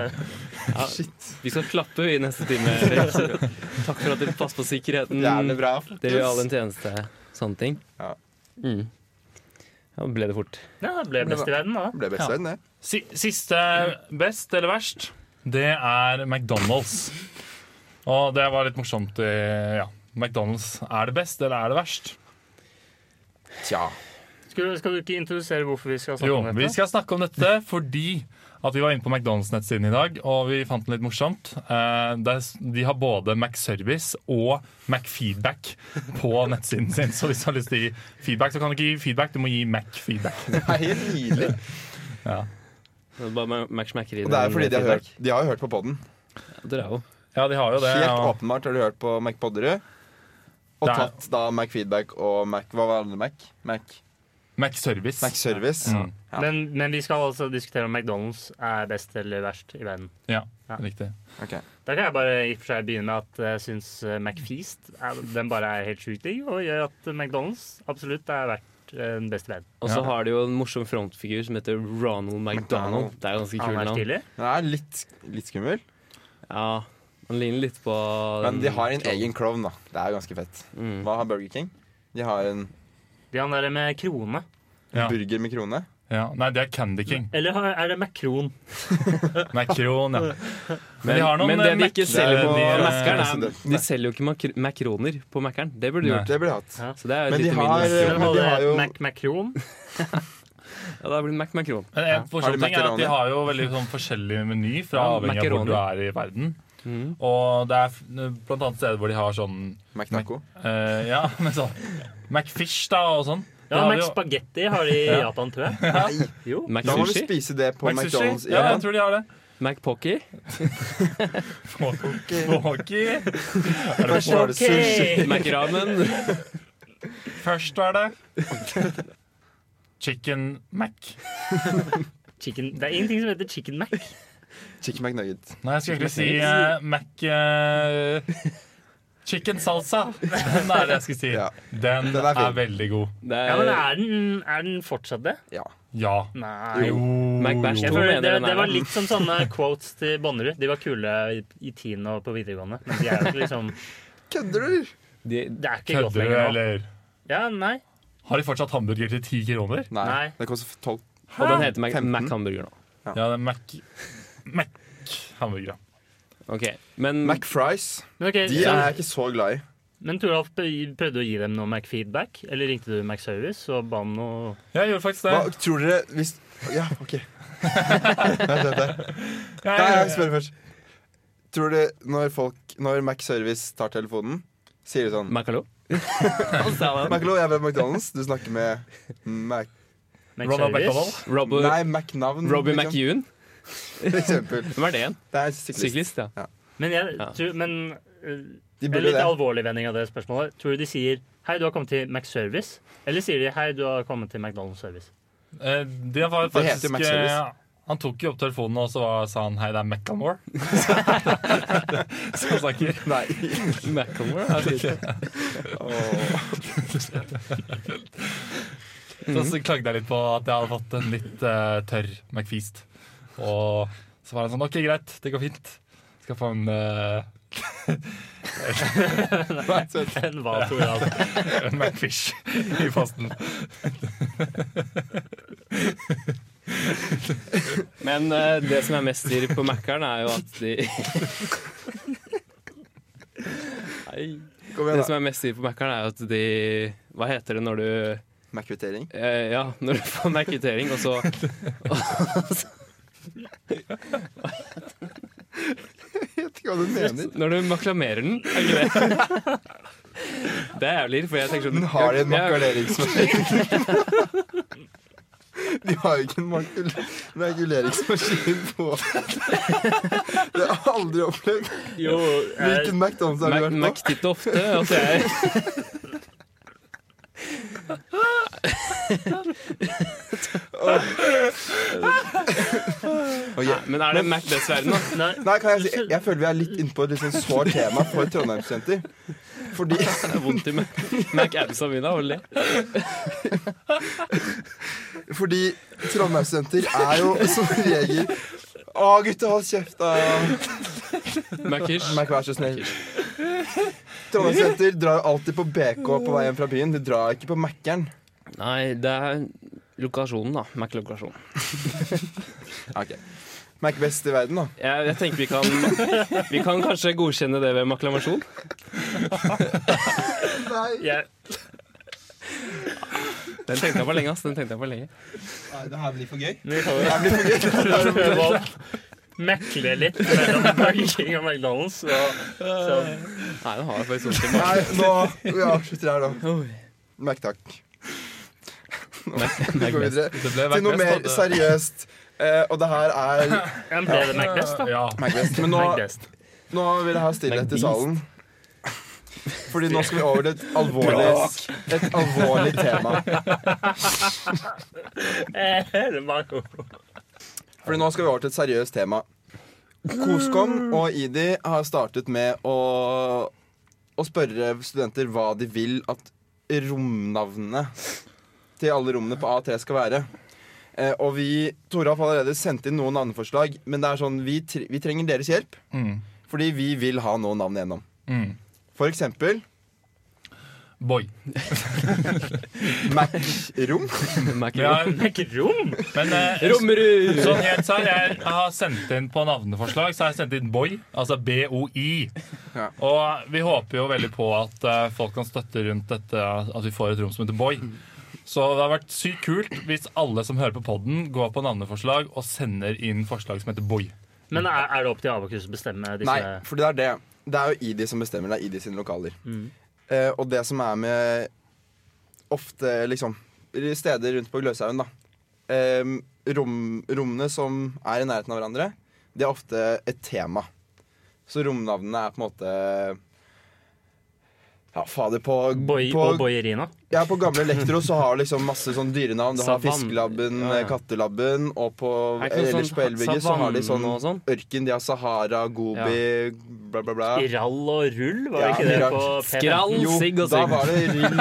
Speaker 4: er-
Speaker 2: Shit.
Speaker 3: Vi skal klappe i neste time. Erik. Takk for at dere passer på sikkerheten.
Speaker 2: Jævlig bra.
Speaker 3: Mm. Det gjør alle en tjeneste. Sånne ting.
Speaker 2: Ja.
Speaker 3: Mm. Ja, ble det fort.
Speaker 4: Ja, det ble best i verden, da.
Speaker 2: Det ble best i verden, det.
Speaker 1: Si siste best eller verst, det er McDonald's. Og det var litt morsomt. eh, Ja. McDonald's er det best, eller er det verst?
Speaker 2: Tja.
Speaker 4: Skal, skal du ikke introdusere hvorfor vi skal snakke
Speaker 1: Jo,
Speaker 4: om dette?
Speaker 1: vi skal snakke om dette fordi at vi var inne på McDonald's-nettsiden i dag, og vi fant den litt morsomt. Eh, der s- De har både McService og McFeedback på nettsiden sin. Så hvis du har lyst til å gi feedback, så kan du ikke gi feedback, du må gi McFeedback.
Speaker 2: Det er helt nydelig.
Speaker 3: Det er Bare Mac smacker i
Speaker 2: Og det er jo
Speaker 3: den
Speaker 2: fordi de har, hørt,
Speaker 3: feedback.
Speaker 2: de har jo hørt på podden.
Speaker 3: Dere er jo
Speaker 1: Ja, de har jo det.
Speaker 2: Helt
Speaker 1: og-
Speaker 2: åpenbart har de hørt på Mac Podderud. Og
Speaker 1: Det er-
Speaker 2: tatt da Mac Feedback og Mac Hva var det andre Mac? Mac,
Speaker 1: McService.
Speaker 2: Mac Service.
Speaker 1: Mm.
Speaker 2: Ja.
Speaker 4: Men, men vi skal altså diskutere om McDonald's er best eller verst i verden.
Speaker 1: Ja,
Speaker 4: Ja.
Speaker 1: riktig.
Speaker 2: Ok.
Speaker 4: Da kan jeg bare i og for seg begynne med at jeg syns eh, McFeast er, den bare er helt sjukt digg, og gjør at McDonald's absolutt er verdt eh, den beste verden.
Speaker 3: Og så
Speaker 1: Ja.
Speaker 3: har de jo en morsom frontfigur som heter Ronald McDonald. Det er ganske
Speaker 4: Han
Speaker 3: kult
Speaker 4: er
Speaker 3: navn.
Speaker 4: stilig.
Speaker 2: Den er litt, litt skummel,
Speaker 3: Ja, han ligner litt på
Speaker 2: men de
Speaker 3: den-
Speaker 2: har en egen klovn, da. Det er jo ganske fett.
Speaker 3: mm.
Speaker 2: Hva har Burger King? De har en
Speaker 4: De han der med krone.
Speaker 1: Ja.
Speaker 2: burger med krone.
Speaker 1: Ja. Nei, det er Candy
Speaker 2: Mm.
Speaker 1: King.
Speaker 4: Eller har- er det Macron?
Speaker 1: Macron, ja.
Speaker 3: Men,
Speaker 1: de har noen,
Speaker 3: men det de
Speaker 1: eh,
Speaker 3: ikke
Speaker 1: Mac-
Speaker 3: selger på
Speaker 1: de, eh,
Speaker 3: Mackeren, er
Speaker 2: presidenten.
Speaker 3: De selger jo ikke mak- makroner på Mackeren. Det burde de
Speaker 1: Nei.
Speaker 3: gjort.
Speaker 2: Det blir hatt.
Speaker 4: Ja.
Speaker 3: Så det er jo
Speaker 2: Men
Speaker 3: et
Speaker 2: de
Speaker 3: lite
Speaker 2: har-
Speaker 3: minus.
Speaker 2: men
Speaker 4: Skulle
Speaker 2: de
Speaker 4: holde
Speaker 2: har jo-
Speaker 4: Mac Macron.
Speaker 3: Ja, da blir det Mac Macron.
Speaker 1: Men en
Speaker 2: Har
Speaker 1: forskjell
Speaker 2: de
Speaker 1: ting er at
Speaker 2: macaroni?
Speaker 1: De har jo veldig sånn forskjellig meny fra
Speaker 3: Ja,
Speaker 1: avhengig av hvor
Speaker 3: macaroni.
Speaker 1: du er i verden.
Speaker 2: Mm.
Speaker 3: Mhm.
Speaker 1: Og det er f- blant annet steder hvor de har sånn
Speaker 2: Mac Taco.
Speaker 1: eh, Ja, men sånn McFish da og sånn. Det
Speaker 4: Ja,
Speaker 1: har de
Speaker 4: Mac
Speaker 1: jo-
Speaker 4: Spagetti har de i Japan, tror jeg.
Speaker 2: Nei,
Speaker 4: Jo.
Speaker 3: Mac
Speaker 2: da må vi
Speaker 3: Sushi.
Speaker 2: spise det på
Speaker 1: Mac
Speaker 2: McDonald's.
Speaker 1: Sushi.
Speaker 2: i
Speaker 1: Ja, jeg
Speaker 2: Japan.
Speaker 1: tror de har det.
Speaker 3: Mac Pocky.
Speaker 1: Pocky. Er det
Speaker 2: Først var det sushi.
Speaker 3: Mac Ramen.
Speaker 1: Først var det Chicken Mac.
Speaker 4: Chicken. Det er ingenting som heter Chicken Mac.
Speaker 2: Chicken McNugget.
Speaker 1: Nei, jeg skulle egentlig si eh, Mac eh, Chicken salsa. Den er det jeg skulle si.
Speaker 2: Ja.
Speaker 1: Den,
Speaker 2: Den er
Speaker 1: er,
Speaker 2: fin.
Speaker 1: veldig god.
Speaker 3: Det
Speaker 4: Ja,
Speaker 2: Eh.
Speaker 4: men
Speaker 3: er
Speaker 4: er den, er den fortsatt det?
Speaker 2: Ja.
Speaker 1: Ja.
Speaker 4: Nei.
Speaker 1: Jo.
Speaker 3: Mac Bash.
Speaker 1: jo.
Speaker 4: Jeg
Speaker 3: To
Speaker 4: føler
Speaker 3: mener den
Speaker 4: det,
Speaker 3: er
Speaker 4: det var
Speaker 3: det.
Speaker 4: litt som sånne quotes til Bonnerud. De var kule i, i tiden og på videregående. Men de er jo ikke liksom,
Speaker 2: Kødder du?
Speaker 3: de,
Speaker 4: det er ikke godt
Speaker 1: Kødder du,
Speaker 4: lenger nå.
Speaker 1: eller?
Speaker 4: Ja, nei.
Speaker 1: Har de fortsatt hamburger til ti kroner?
Speaker 2: Nei.
Speaker 4: Nei.
Speaker 2: Det koster tolv.
Speaker 3: Og den heter Mac,
Speaker 2: 15.
Speaker 3: Mac Hamburger nå.
Speaker 1: Ja, det er Mac... Mac... Hamburger, ja.
Speaker 3: Ok, men
Speaker 2: McFries.
Speaker 4: Men, ok,
Speaker 2: De
Speaker 4: så,
Speaker 2: er jeg ikke så glad i.
Speaker 4: men Toralf prøv- prøvde å gi dem noe Mac-feedback. Eller ringte du Mac-service og ba om noe
Speaker 1: Jeg gjorde faktisk
Speaker 2: Hva
Speaker 1: det.
Speaker 2: tror dere hvis Ja, OK. Vent, vent, vent. Nei, jeg spør først. Tror du når folk Når Mac Service tar telefonen, sier de sånn
Speaker 3: Macalo?
Speaker 2: Maclo, jeg er ved McDonald's. Du snakker med Mac...
Speaker 1: Ronald McDonald.
Speaker 4: Mac-service?
Speaker 3: Robbie,
Speaker 2: Nei, Mac-navn.
Speaker 3: Robbie
Speaker 2: liksom,
Speaker 3: McEwan?
Speaker 2: For eksempel.
Speaker 3: Hvem er det igjen?
Speaker 2: Det er en syklist.
Speaker 3: Syklist, ja.
Speaker 4: Men, jeg,
Speaker 3: Ja.
Speaker 4: tror, men eh,
Speaker 2: De
Speaker 4: en
Speaker 2: burde
Speaker 4: litt
Speaker 2: det.
Speaker 4: alvorlig vending av det spørsmålet. Tror du de sier 'Hei, du har kommet til Mac-service'? Eller sier de 'Hei, du har kommet til McDonald's service'?
Speaker 1: Eh, Det var
Speaker 2: Det heter jo
Speaker 1: faktisk
Speaker 2: Mac Service.
Speaker 1: eh, Han tok jo opp telefonen, og så var, sa han 'hei, det er Maccamore'. Som snakker.
Speaker 2: Nei.
Speaker 3: Macamore er fint.
Speaker 2: Åh. Mhm.
Speaker 1: Så, så klagde jeg litt på at jeg hadde fått en litt eh, tørr McFeast. Og så var han sånn 'OK, greit, det går fint'. Skal få en, eh,
Speaker 4: Den var Toralf.
Speaker 1: en McFish i posten.
Speaker 3: Men eh, det som er mest irr på Mackeren, er jo at de Nei.
Speaker 2: Kom
Speaker 3: Det
Speaker 2: igjen,
Speaker 3: som er mest irr på Mackeren, er jo at de Hva heter det når du
Speaker 2: da. Mac-kvittering.
Speaker 3: Eh, ja, når du får meg kvittering, og så
Speaker 2: Jeg vet ikke hva du mener.
Speaker 3: Når du maklamerer den, er ikke det? Det er jævlig, for jeg tenker sånn
Speaker 2: Den har en
Speaker 3: Jeg-
Speaker 2: makuleringsmaskin. De har jo ikke en makul makuleringsmaskin på Det har jeg aldri opplevd.
Speaker 4: Jo, jeg,
Speaker 2: Hvilken McDonald's har du
Speaker 3: Mac,
Speaker 2: vært på?
Speaker 3: Mac titter ofte. Altså jeg
Speaker 2: Ok.
Speaker 3: Nei, Men er det Mac dessverre, da?
Speaker 4: nei,
Speaker 2: Nei, kan jeg, si, jeg føler vi er litt inne på et litt sånn sårt tema for Trondheimsjenter. Fordi
Speaker 3: Det er vondt i Mac. Mac Adamsa mi, da. og le.
Speaker 2: Fordi Trondheimsjenter er jo som regel Å, gutta, hold kjeft, da.
Speaker 3: Mac-ish.
Speaker 2: Mac, vær så snill. Trondheimsjenter drar alltid på BK på vei hjem fra byen. De drar ikke på Mækkern.
Speaker 3: Nei, det er lokasjonen, da. Mac-lokasjonen.
Speaker 2: Okay. Mac best i verden, da.
Speaker 3: Jeg, jeg tenker vi kan Vi kan kanskje godkjenne det ved maklamasjon.
Speaker 2: Nei,
Speaker 4: jeg,
Speaker 3: Den tenkte jeg på lenge. ass, den tenkte jeg på lenge
Speaker 2: det her blir for gøy.
Speaker 4: vi får jo
Speaker 2: Det blir for gøy.
Speaker 4: prøve å mekle litt mellom Burger King og McDonald's. Og, så,
Speaker 3: Nei, den har jeg faktisk vondt i
Speaker 2: Nei, nå Vi avslutter her, da.
Speaker 3: magen.
Speaker 2: Mac, takk. Vi
Speaker 3: Mac-
Speaker 2: går
Speaker 3: Mac-
Speaker 2: videre
Speaker 1: Det ble
Speaker 2: til noe mer
Speaker 1: Mac-best, da.
Speaker 2: seriøst. Eh, og det her er
Speaker 4: ja, ble det McBest, da?
Speaker 1: Ja.
Speaker 2: Mac best. Men nå
Speaker 4: McBest.
Speaker 2: Nå vil jeg ha stillhet i
Speaker 3: Beast.
Speaker 2: salen. Fordi nå skal vi over til et alvorlig, et alvorlig tema.
Speaker 4: Eh, det var god.
Speaker 2: Fordi nå skal vi over til et seriøst tema. Koskom og IDI har startet med å, å spørre studenter hva de vil at romnavnene til alle rommene på A3 skal være. Eh, og vi Toralf har allerede sendt inn noen navneforslag, men det er sånn, vi, tre vi trenger deres hjelp.
Speaker 1: Mm.
Speaker 2: Fordi vi vil ha noen navn igjennom.
Speaker 1: Mm.
Speaker 2: For eksempel
Speaker 1: Boy.
Speaker 2: Mac-rom.
Speaker 3: Mac-
Speaker 1: Vi har,
Speaker 4: McRom?
Speaker 1: men eh,
Speaker 3: Rommerud!
Speaker 1: sånn helt sær, jeg har sendt inn på navneforslag, så har jeg sendt inn Boy, altså B-O-I.
Speaker 2: Ja.
Speaker 1: Og vi håper jo veldig på at eh, folk kan støtte rundt dette, at vi får et rom som heter Boy. Så det har vært sykt kult hvis alle som hører på podden, går på navneforslag og sender inn forslag som heter Boy.
Speaker 4: Men er, er det opp til Abakus å bestemme disse
Speaker 2: Nei, for det er det. Det er jo ID som bestemmer. Det er ID sine lokaler.
Speaker 4: Mm.
Speaker 2: Eh, og det som er med ofte, liksom Steder rundt på Gløshaugen, da. Eh, rom, rommene som er i nærheten av hverandre, de er ofte et tema. Så romnavnene er på en måte Ja, fader, på,
Speaker 4: Boy
Speaker 2: på
Speaker 4: og Boyerina?
Speaker 2: ja, på gamle Elektro så har du liksom masse sånn dyrenavn. Du har
Speaker 3: Savann.
Speaker 2: fiskelabben,
Speaker 3: Ja, ja.
Speaker 2: kattelabben, og på,
Speaker 3: Er ikke noe
Speaker 2: ellers
Speaker 3: sånn
Speaker 2: på Elvigge så har de sånn
Speaker 3: savann og sånn?
Speaker 2: ørken. De har Sahara, Gobi, bla, bla, bla.
Speaker 4: Irall og rull, var
Speaker 2: Ja,
Speaker 4: ikke det
Speaker 2: Irall.
Speaker 4: på
Speaker 3: Skrall,
Speaker 2: Jo,
Speaker 3: sigg og
Speaker 2: da
Speaker 3: sigg.
Speaker 2: var det Rill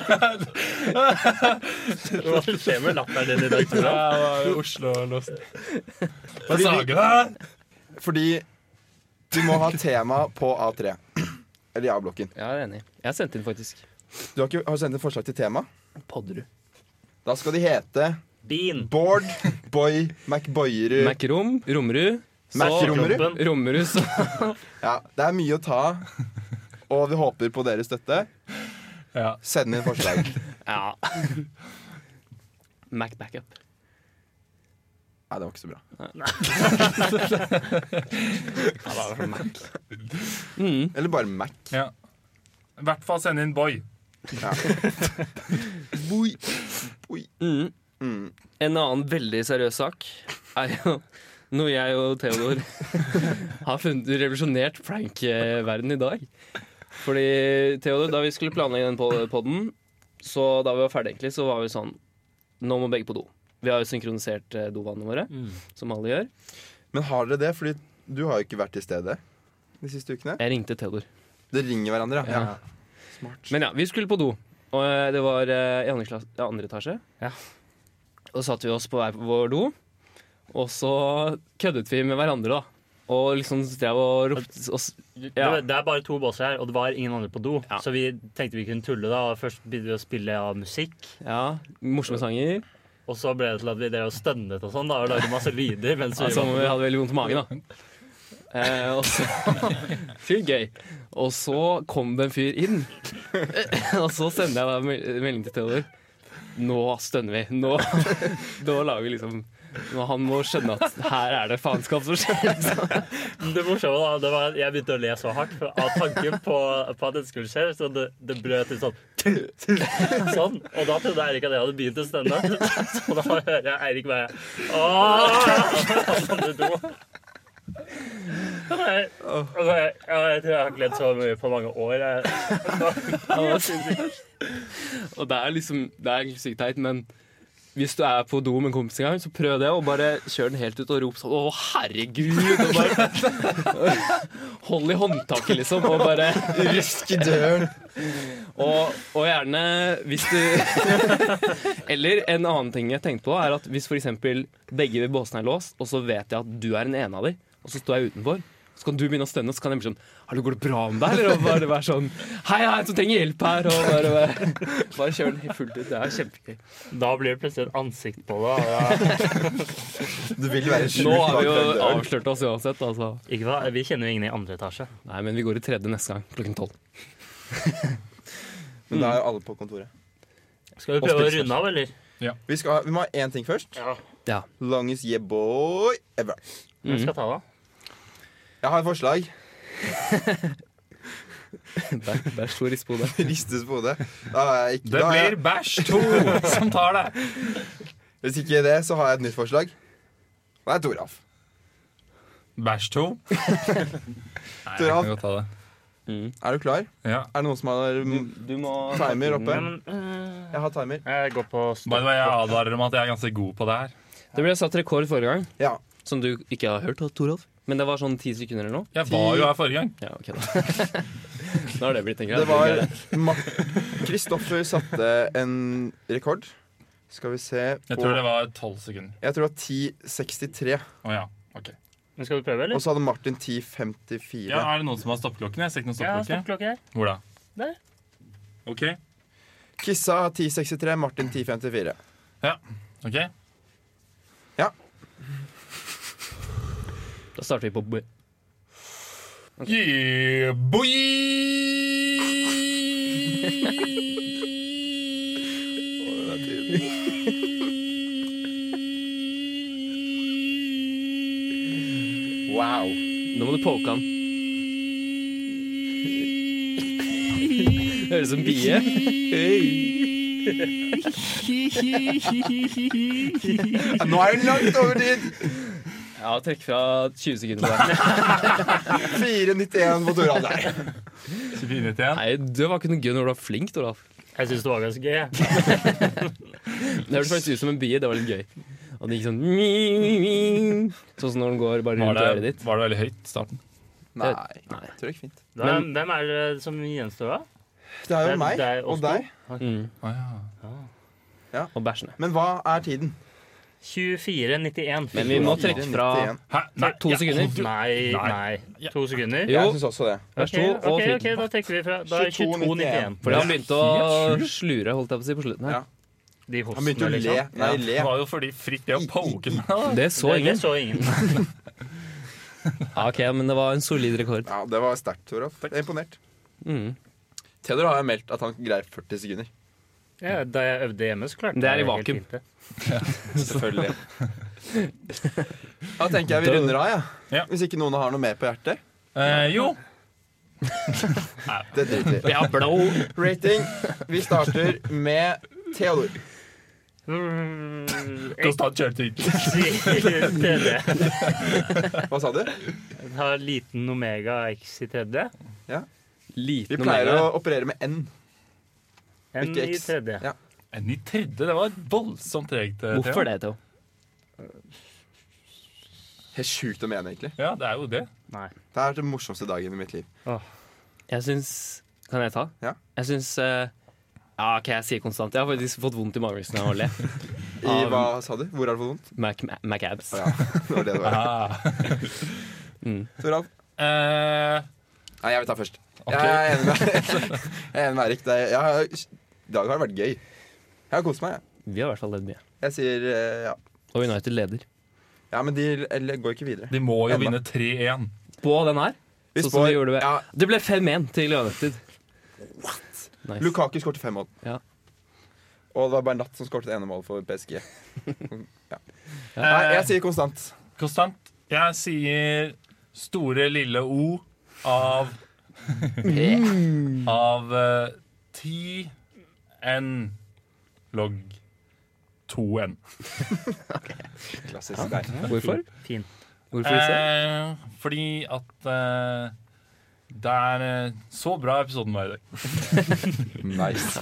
Speaker 4: P15? Hva skjer med latteren din i dag, Tora?
Speaker 1: Oslo lost. Hva sa
Speaker 2: Fordi vi-
Speaker 1: du da?
Speaker 2: Fordi du må ha tema på A3. Eller Ja-blokken.
Speaker 3: Jeg er enig. Jeg har sendt inn, faktisk.
Speaker 2: Du har, ikke, har du sendt et forslag til tema?
Speaker 3: Podderud.
Speaker 2: Da skal de hete
Speaker 4: Bean.
Speaker 2: Bård Boy McBoyerud.
Speaker 3: Mac-rom, Rommerud. så-
Speaker 2: Mac-rommerud?
Speaker 4: Klumpen.
Speaker 3: Rommerud, så
Speaker 2: Ja, det er mye å ta av, og vi håper på deres støtte.
Speaker 1: Ja.
Speaker 2: Send inn forslag.
Speaker 3: Ja. Mac-backup.
Speaker 2: Nei, det var ikke så bra.
Speaker 3: Ja, det er Mac.
Speaker 2: Eller bare Mac.
Speaker 1: ja. I hvert fall send inn Boy.
Speaker 2: Boy.
Speaker 3: Mm. En annen veldig seriøs sak er jo noe jeg og Theodor har funnet revolusjonert prank-verden i dag. Fordi, Theodor, da vi skulle planlegge den poden, så da vi var ferdig egentlig, så var vi sånn Nå må begge på do. Vi har jo synkronisert eh, dovannene våre, som alle gjør.
Speaker 2: Men har dere det? Fordi du har jo ikke vært til stede de siste ukene.
Speaker 3: Jeg ringte Theodor.
Speaker 2: Det ringer hverandre, ja.
Speaker 3: Ja. Men ja, vi skulle på do. Og eh, det var eh, i andre, klasse, ja, andre etasje.
Speaker 4: Ja.
Speaker 3: Og så satte vi oss på hver vår do, og så køddet vi med hverandre, da. Og liksom drev og ropte oss
Speaker 4: Det,
Speaker 3: Ja.
Speaker 4: det er bare to båser her, og det var ingen andre på do.
Speaker 3: Ja.
Speaker 4: Så vi tenkte vi kunne tulle. da og Først begynte vi å spille av musikk.
Speaker 3: Ja, morsomme sanger.
Speaker 4: Og så ble det til at vi drev og stønnet og sånn da, og lagde masse lyder. Mens vi
Speaker 3: Ja, som om Altså,
Speaker 4: var-
Speaker 3: vi hadde veldig vondt i magen, da. Eh, og så Fyr gøy. Eh, Og så kom det en fyr inn. og så sender jeg da mel- melding til Theodor. Nå stønner vi. Nå, nå lager vi liksom nå, Han må skjønne at her er det faenskap som skjer. liksom.
Speaker 4: Det morsomme da, det var at jeg begynte å le så hardt av tanken på, på at dette skulle skje. Så det, det brøt ut sånn. Sånn. Og da trodde Eirik at jeg hadde begynt å stønne. Så da hører jeg Eirik bare Åh! Og jeg, altså, jeg, jeg tror jeg har ikke ledd så mye på mange år. Jeg,
Speaker 3: Og det er liksom Det er egentlig sykt teit, men hvis du er på do med en kompis en gang, så prøv det. Og bare kjør den helt ut og rop sånn Å, herregud! Og bare, hold i håndtaket, liksom. Og bare
Speaker 2: Røsk i døren.
Speaker 3: Og, og gjerne hvis du Eller en annen ting jeg tenkte på, er at hvis f.eks. begge båsene er låst, og så vet jeg at du er den ene av dem, og så står jeg utenfor. Så kan du begynne å stønne, og så kan jeg bli sånn Hallo, går det bra med deg? Eller og bare være sånn Hei, hei, som trenger hjelp her. Og bare, bare, bare kjør den helt fullt ut. Det er kjempegøy.
Speaker 4: da blir det plutselig et ansikt på det. Og jeg,
Speaker 2: Du vil være sjuk
Speaker 3: Nå har
Speaker 2: bak
Speaker 3: vi jo
Speaker 2: den døren.
Speaker 3: avslørt oss uansett, altså.
Speaker 4: Ikke hva? Vi kjenner jo ingen i andre etasje.
Speaker 3: Nei, men vi går i tredje neste gang klokken tolv.
Speaker 2: Men da er jo alle på kontoret.
Speaker 4: Skal vi prøve å runde av, eller?
Speaker 2: Vi, skal ha, vi må ha én ting først.
Speaker 4: Ja.
Speaker 3: Ja.
Speaker 2: Longest yeah boy ever.
Speaker 4: Hvem skal ta det?
Speaker 2: Jeg har et forslag.
Speaker 3: Der, der slo Rispo det.
Speaker 2: Ristes på hodet. Da har jeg ikke,
Speaker 1: Det
Speaker 2: da har
Speaker 1: blir
Speaker 2: jeg,
Speaker 1: bæsj to som tar deg.
Speaker 2: hvis ikke det, så har jeg et nytt forslag. Nei, Toralf.
Speaker 1: Bæsj to. Nei, jeg
Speaker 2: Toralf,
Speaker 1: kan godt ta det.
Speaker 2: er du klar?
Speaker 1: Ja.
Speaker 2: Er det noen som har mm,
Speaker 3: Du må
Speaker 2: timer oppe?
Speaker 4: Ja, men, øh,
Speaker 2: Jeg har timer.
Speaker 4: jeg går på
Speaker 1: By the way, jeg advarer om at jeg er ganske god på det her.
Speaker 3: Det ble satt rekord forrige gang,
Speaker 2: Ja.
Speaker 3: som du ikke har hørt, Toralf. Men det var sånn ti sekunder eller noe.
Speaker 1: Jeg var jo her forrige gang.
Speaker 3: Ja, ok da. Nå har det blitt en greie.
Speaker 2: Det var Ma- Kristoffer satte en rekord. Skal vi se
Speaker 1: Jeg tror det var tolv sekunder.
Speaker 2: Jeg tror det var 10.63.
Speaker 1: Å ja. Ok.
Speaker 4: Men Skal vi prøve, eller?
Speaker 2: Og så hadde Martin 10.54.
Speaker 1: Ja, Er det noen som har stoppeklokken? Jeg ser ikke noen
Speaker 4: Ja,
Speaker 1: stoppeklokke.
Speaker 4: stoppklokke her.
Speaker 1: Hvor da?
Speaker 4: Der.
Speaker 1: OK.
Speaker 2: Kissa har 10.63, Martin 10.54.
Speaker 1: ok.
Speaker 3: Da starter vi på B.
Speaker 1: Yeah, boy!
Speaker 2: Wow.
Speaker 3: Nå må du poke han. Høres ut som bie.
Speaker 2: Nå er det langt over tid!
Speaker 3: Ja, trekk fra 20 sekunder. Der.
Speaker 2: 4.91 på Toralf. Nei.
Speaker 1: 491.
Speaker 3: Nei, det var ikke noe gøy når du var flink, Toralf.
Speaker 4: Jeg syns det var ganske gøy. jeg.
Speaker 3: Det hørtes faktisk ut som en bie. Det var litt gøy. Og det gikk sånn mi, mi, mi. Sånn som når den går bare
Speaker 1: Var
Speaker 3: rundt øret
Speaker 1: det,
Speaker 3: ditt.
Speaker 1: var det veldig høyt i starten?
Speaker 2: Nei.
Speaker 3: Nei.
Speaker 2: Tror det gikk fint.
Speaker 4: Hvem, hvem er det som gjenstår, da?
Speaker 2: Det er
Speaker 4: Det
Speaker 2: jo
Speaker 4: er
Speaker 2: meg
Speaker 4: deg og
Speaker 2: og deg.
Speaker 3: Mm.
Speaker 1: Å ja.
Speaker 3: Og bæsjene.
Speaker 2: Men hva er tiden?
Speaker 4: 24,91.
Speaker 3: Men vi må trekke fra
Speaker 2: 4.91.
Speaker 1: Hæ? Nei.
Speaker 3: to sekunder.
Speaker 4: Nei, nei.
Speaker 1: Ja.
Speaker 4: To sekunder?
Speaker 3: Jo.
Speaker 2: Jeg syns også det.
Speaker 3: Vær
Speaker 4: Ok,
Speaker 3: så god. Og
Speaker 4: ok, ok,
Speaker 3: flink.
Speaker 4: da trekker vi fra. Da er 22,91.
Speaker 3: Fordi han begynte å slure, holdt jeg på å si, på slutten her.
Speaker 2: Ja.
Speaker 4: De
Speaker 2: Han begynte
Speaker 4: hostene,
Speaker 2: å le.
Speaker 4: liksom.
Speaker 2: Nei,
Speaker 1: Det
Speaker 2: le.
Speaker 1: var jo fordi Frikk det å poke meg.
Speaker 3: Det så
Speaker 4: Det-
Speaker 3: ingen.
Speaker 4: Det så ingen.
Speaker 3: Ja, ok, men det var en solid rekord.
Speaker 2: Ja, det var sterkt, Toralf. Jeg er imponert.
Speaker 3: Mm.
Speaker 2: Theodor har jo meldt at han greier 40 sekunder.
Speaker 4: Ja, da jeg øvde hjemme, så klarte
Speaker 3: Det er i
Speaker 4: jeg helt
Speaker 3: vakuum.
Speaker 4: fint det.
Speaker 2: Selvfølgelig. Da tenker jeg vi runder av, Ja.
Speaker 1: Ja.
Speaker 2: Hvis ikke noen har noe mer på hjertet.
Speaker 1: Eh, jo.
Speaker 2: Det driter vi i.
Speaker 3: Ja, blå.
Speaker 2: Rating. Vi starter med Theodor.
Speaker 4: Mm,
Speaker 1: Konstant kjørting.
Speaker 4: X i tredje.
Speaker 2: Hva sa du?
Speaker 4: Har liten omega X i tredje.
Speaker 2: Vi
Speaker 3: Liten
Speaker 2: pleier å
Speaker 3: omega.
Speaker 2: operere med N.
Speaker 4: En
Speaker 2: Ikke
Speaker 4: i
Speaker 2: X.
Speaker 4: tredje.
Speaker 2: Ja.
Speaker 1: En i tredje. Det var voldsomt tregt. eh, Theo.
Speaker 3: Hvorfor det, Theo?
Speaker 2: Helt sjukt å mene, egentlig.
Speaker 1: Ja, det er jo det.
Speaker 4: Nei.
Speaker 2: Det er den morsomste dagen i mitt liv.
Speaker 3: Jeg syns Kan jeg ta?
Speaker 2: Ja.
Speaker 3: Jeg syns eh, Ja, OK, jeg sier konstant. Jeg har faktisk fått vondt i magen av å le.
Speaker 2: I
Speaker 3: Av-
Speaker 2: hva sa du? Hvor har du fått vondt?
Speaker 3: Mac- Macabs.
Speaker 2: Å, ja. Det var det det var.
Speaker 1: Ah.
Speaker 3: Mm.
Speaker 2: Toralf?
Speaker 1: Eh,
Speaker 2: Nei, jeg vil ta først.
Speaker 1: Ok.
Speaker 2: Jeg er enig med, jeg er enig med Erik. Det er, jeg har, I dag har det vært gøy. Jeg har kost meg, jeg.
Speaker 3: Vi har i hvert fall ledd mye.
Speaker 2: Jeg sier eh, ja.
Speaker 3: Og United leder.
Speaker 2: Ja, men de eller, går ikke videre.
Speaker 1: de må jo
Speaker 2: Enda.
Speaker 1: vinne 3-1.
Speaker 3: På den her.
Speaker 2: Vi
Speaker 3: Sånn som
Speaker 2: spår-
Speaker 3: vi gjorde det.
Speaker 2: ja,
Speaker 3: Det ble 5-1 til United. Nice.
Speaker 2: Lukaku skårte fem mål.
Speaker 3: Ja.
Speaker 2: Og det var bare Natt som skåret det ene målet for PSG. Nei,
Speaker 1: Eh,
Speaker 2: jeg sier konstant.
Speaker 1: Konstant. Jeg sier store lille O av Av eh, ti n logg 2n.
Speaker 2: Klassisk der.
Speaker 3: Hvorfor?
Speaker 4: Fin.
Speaker 3: Hvorfor ikke?
Speaker 1: Eh, fordi at eh, det er eh, så bra episoden var i dag.
Speaker 2: Nice.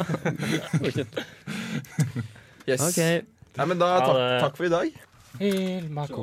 Speaker 2: Yes.
Speaker 3: Ok.
Speaker 2: Nei, men da
Speaker 4: Ha
Speaker 2: takk,
Speaker 4: det.
Speaker 2: takk for i dag.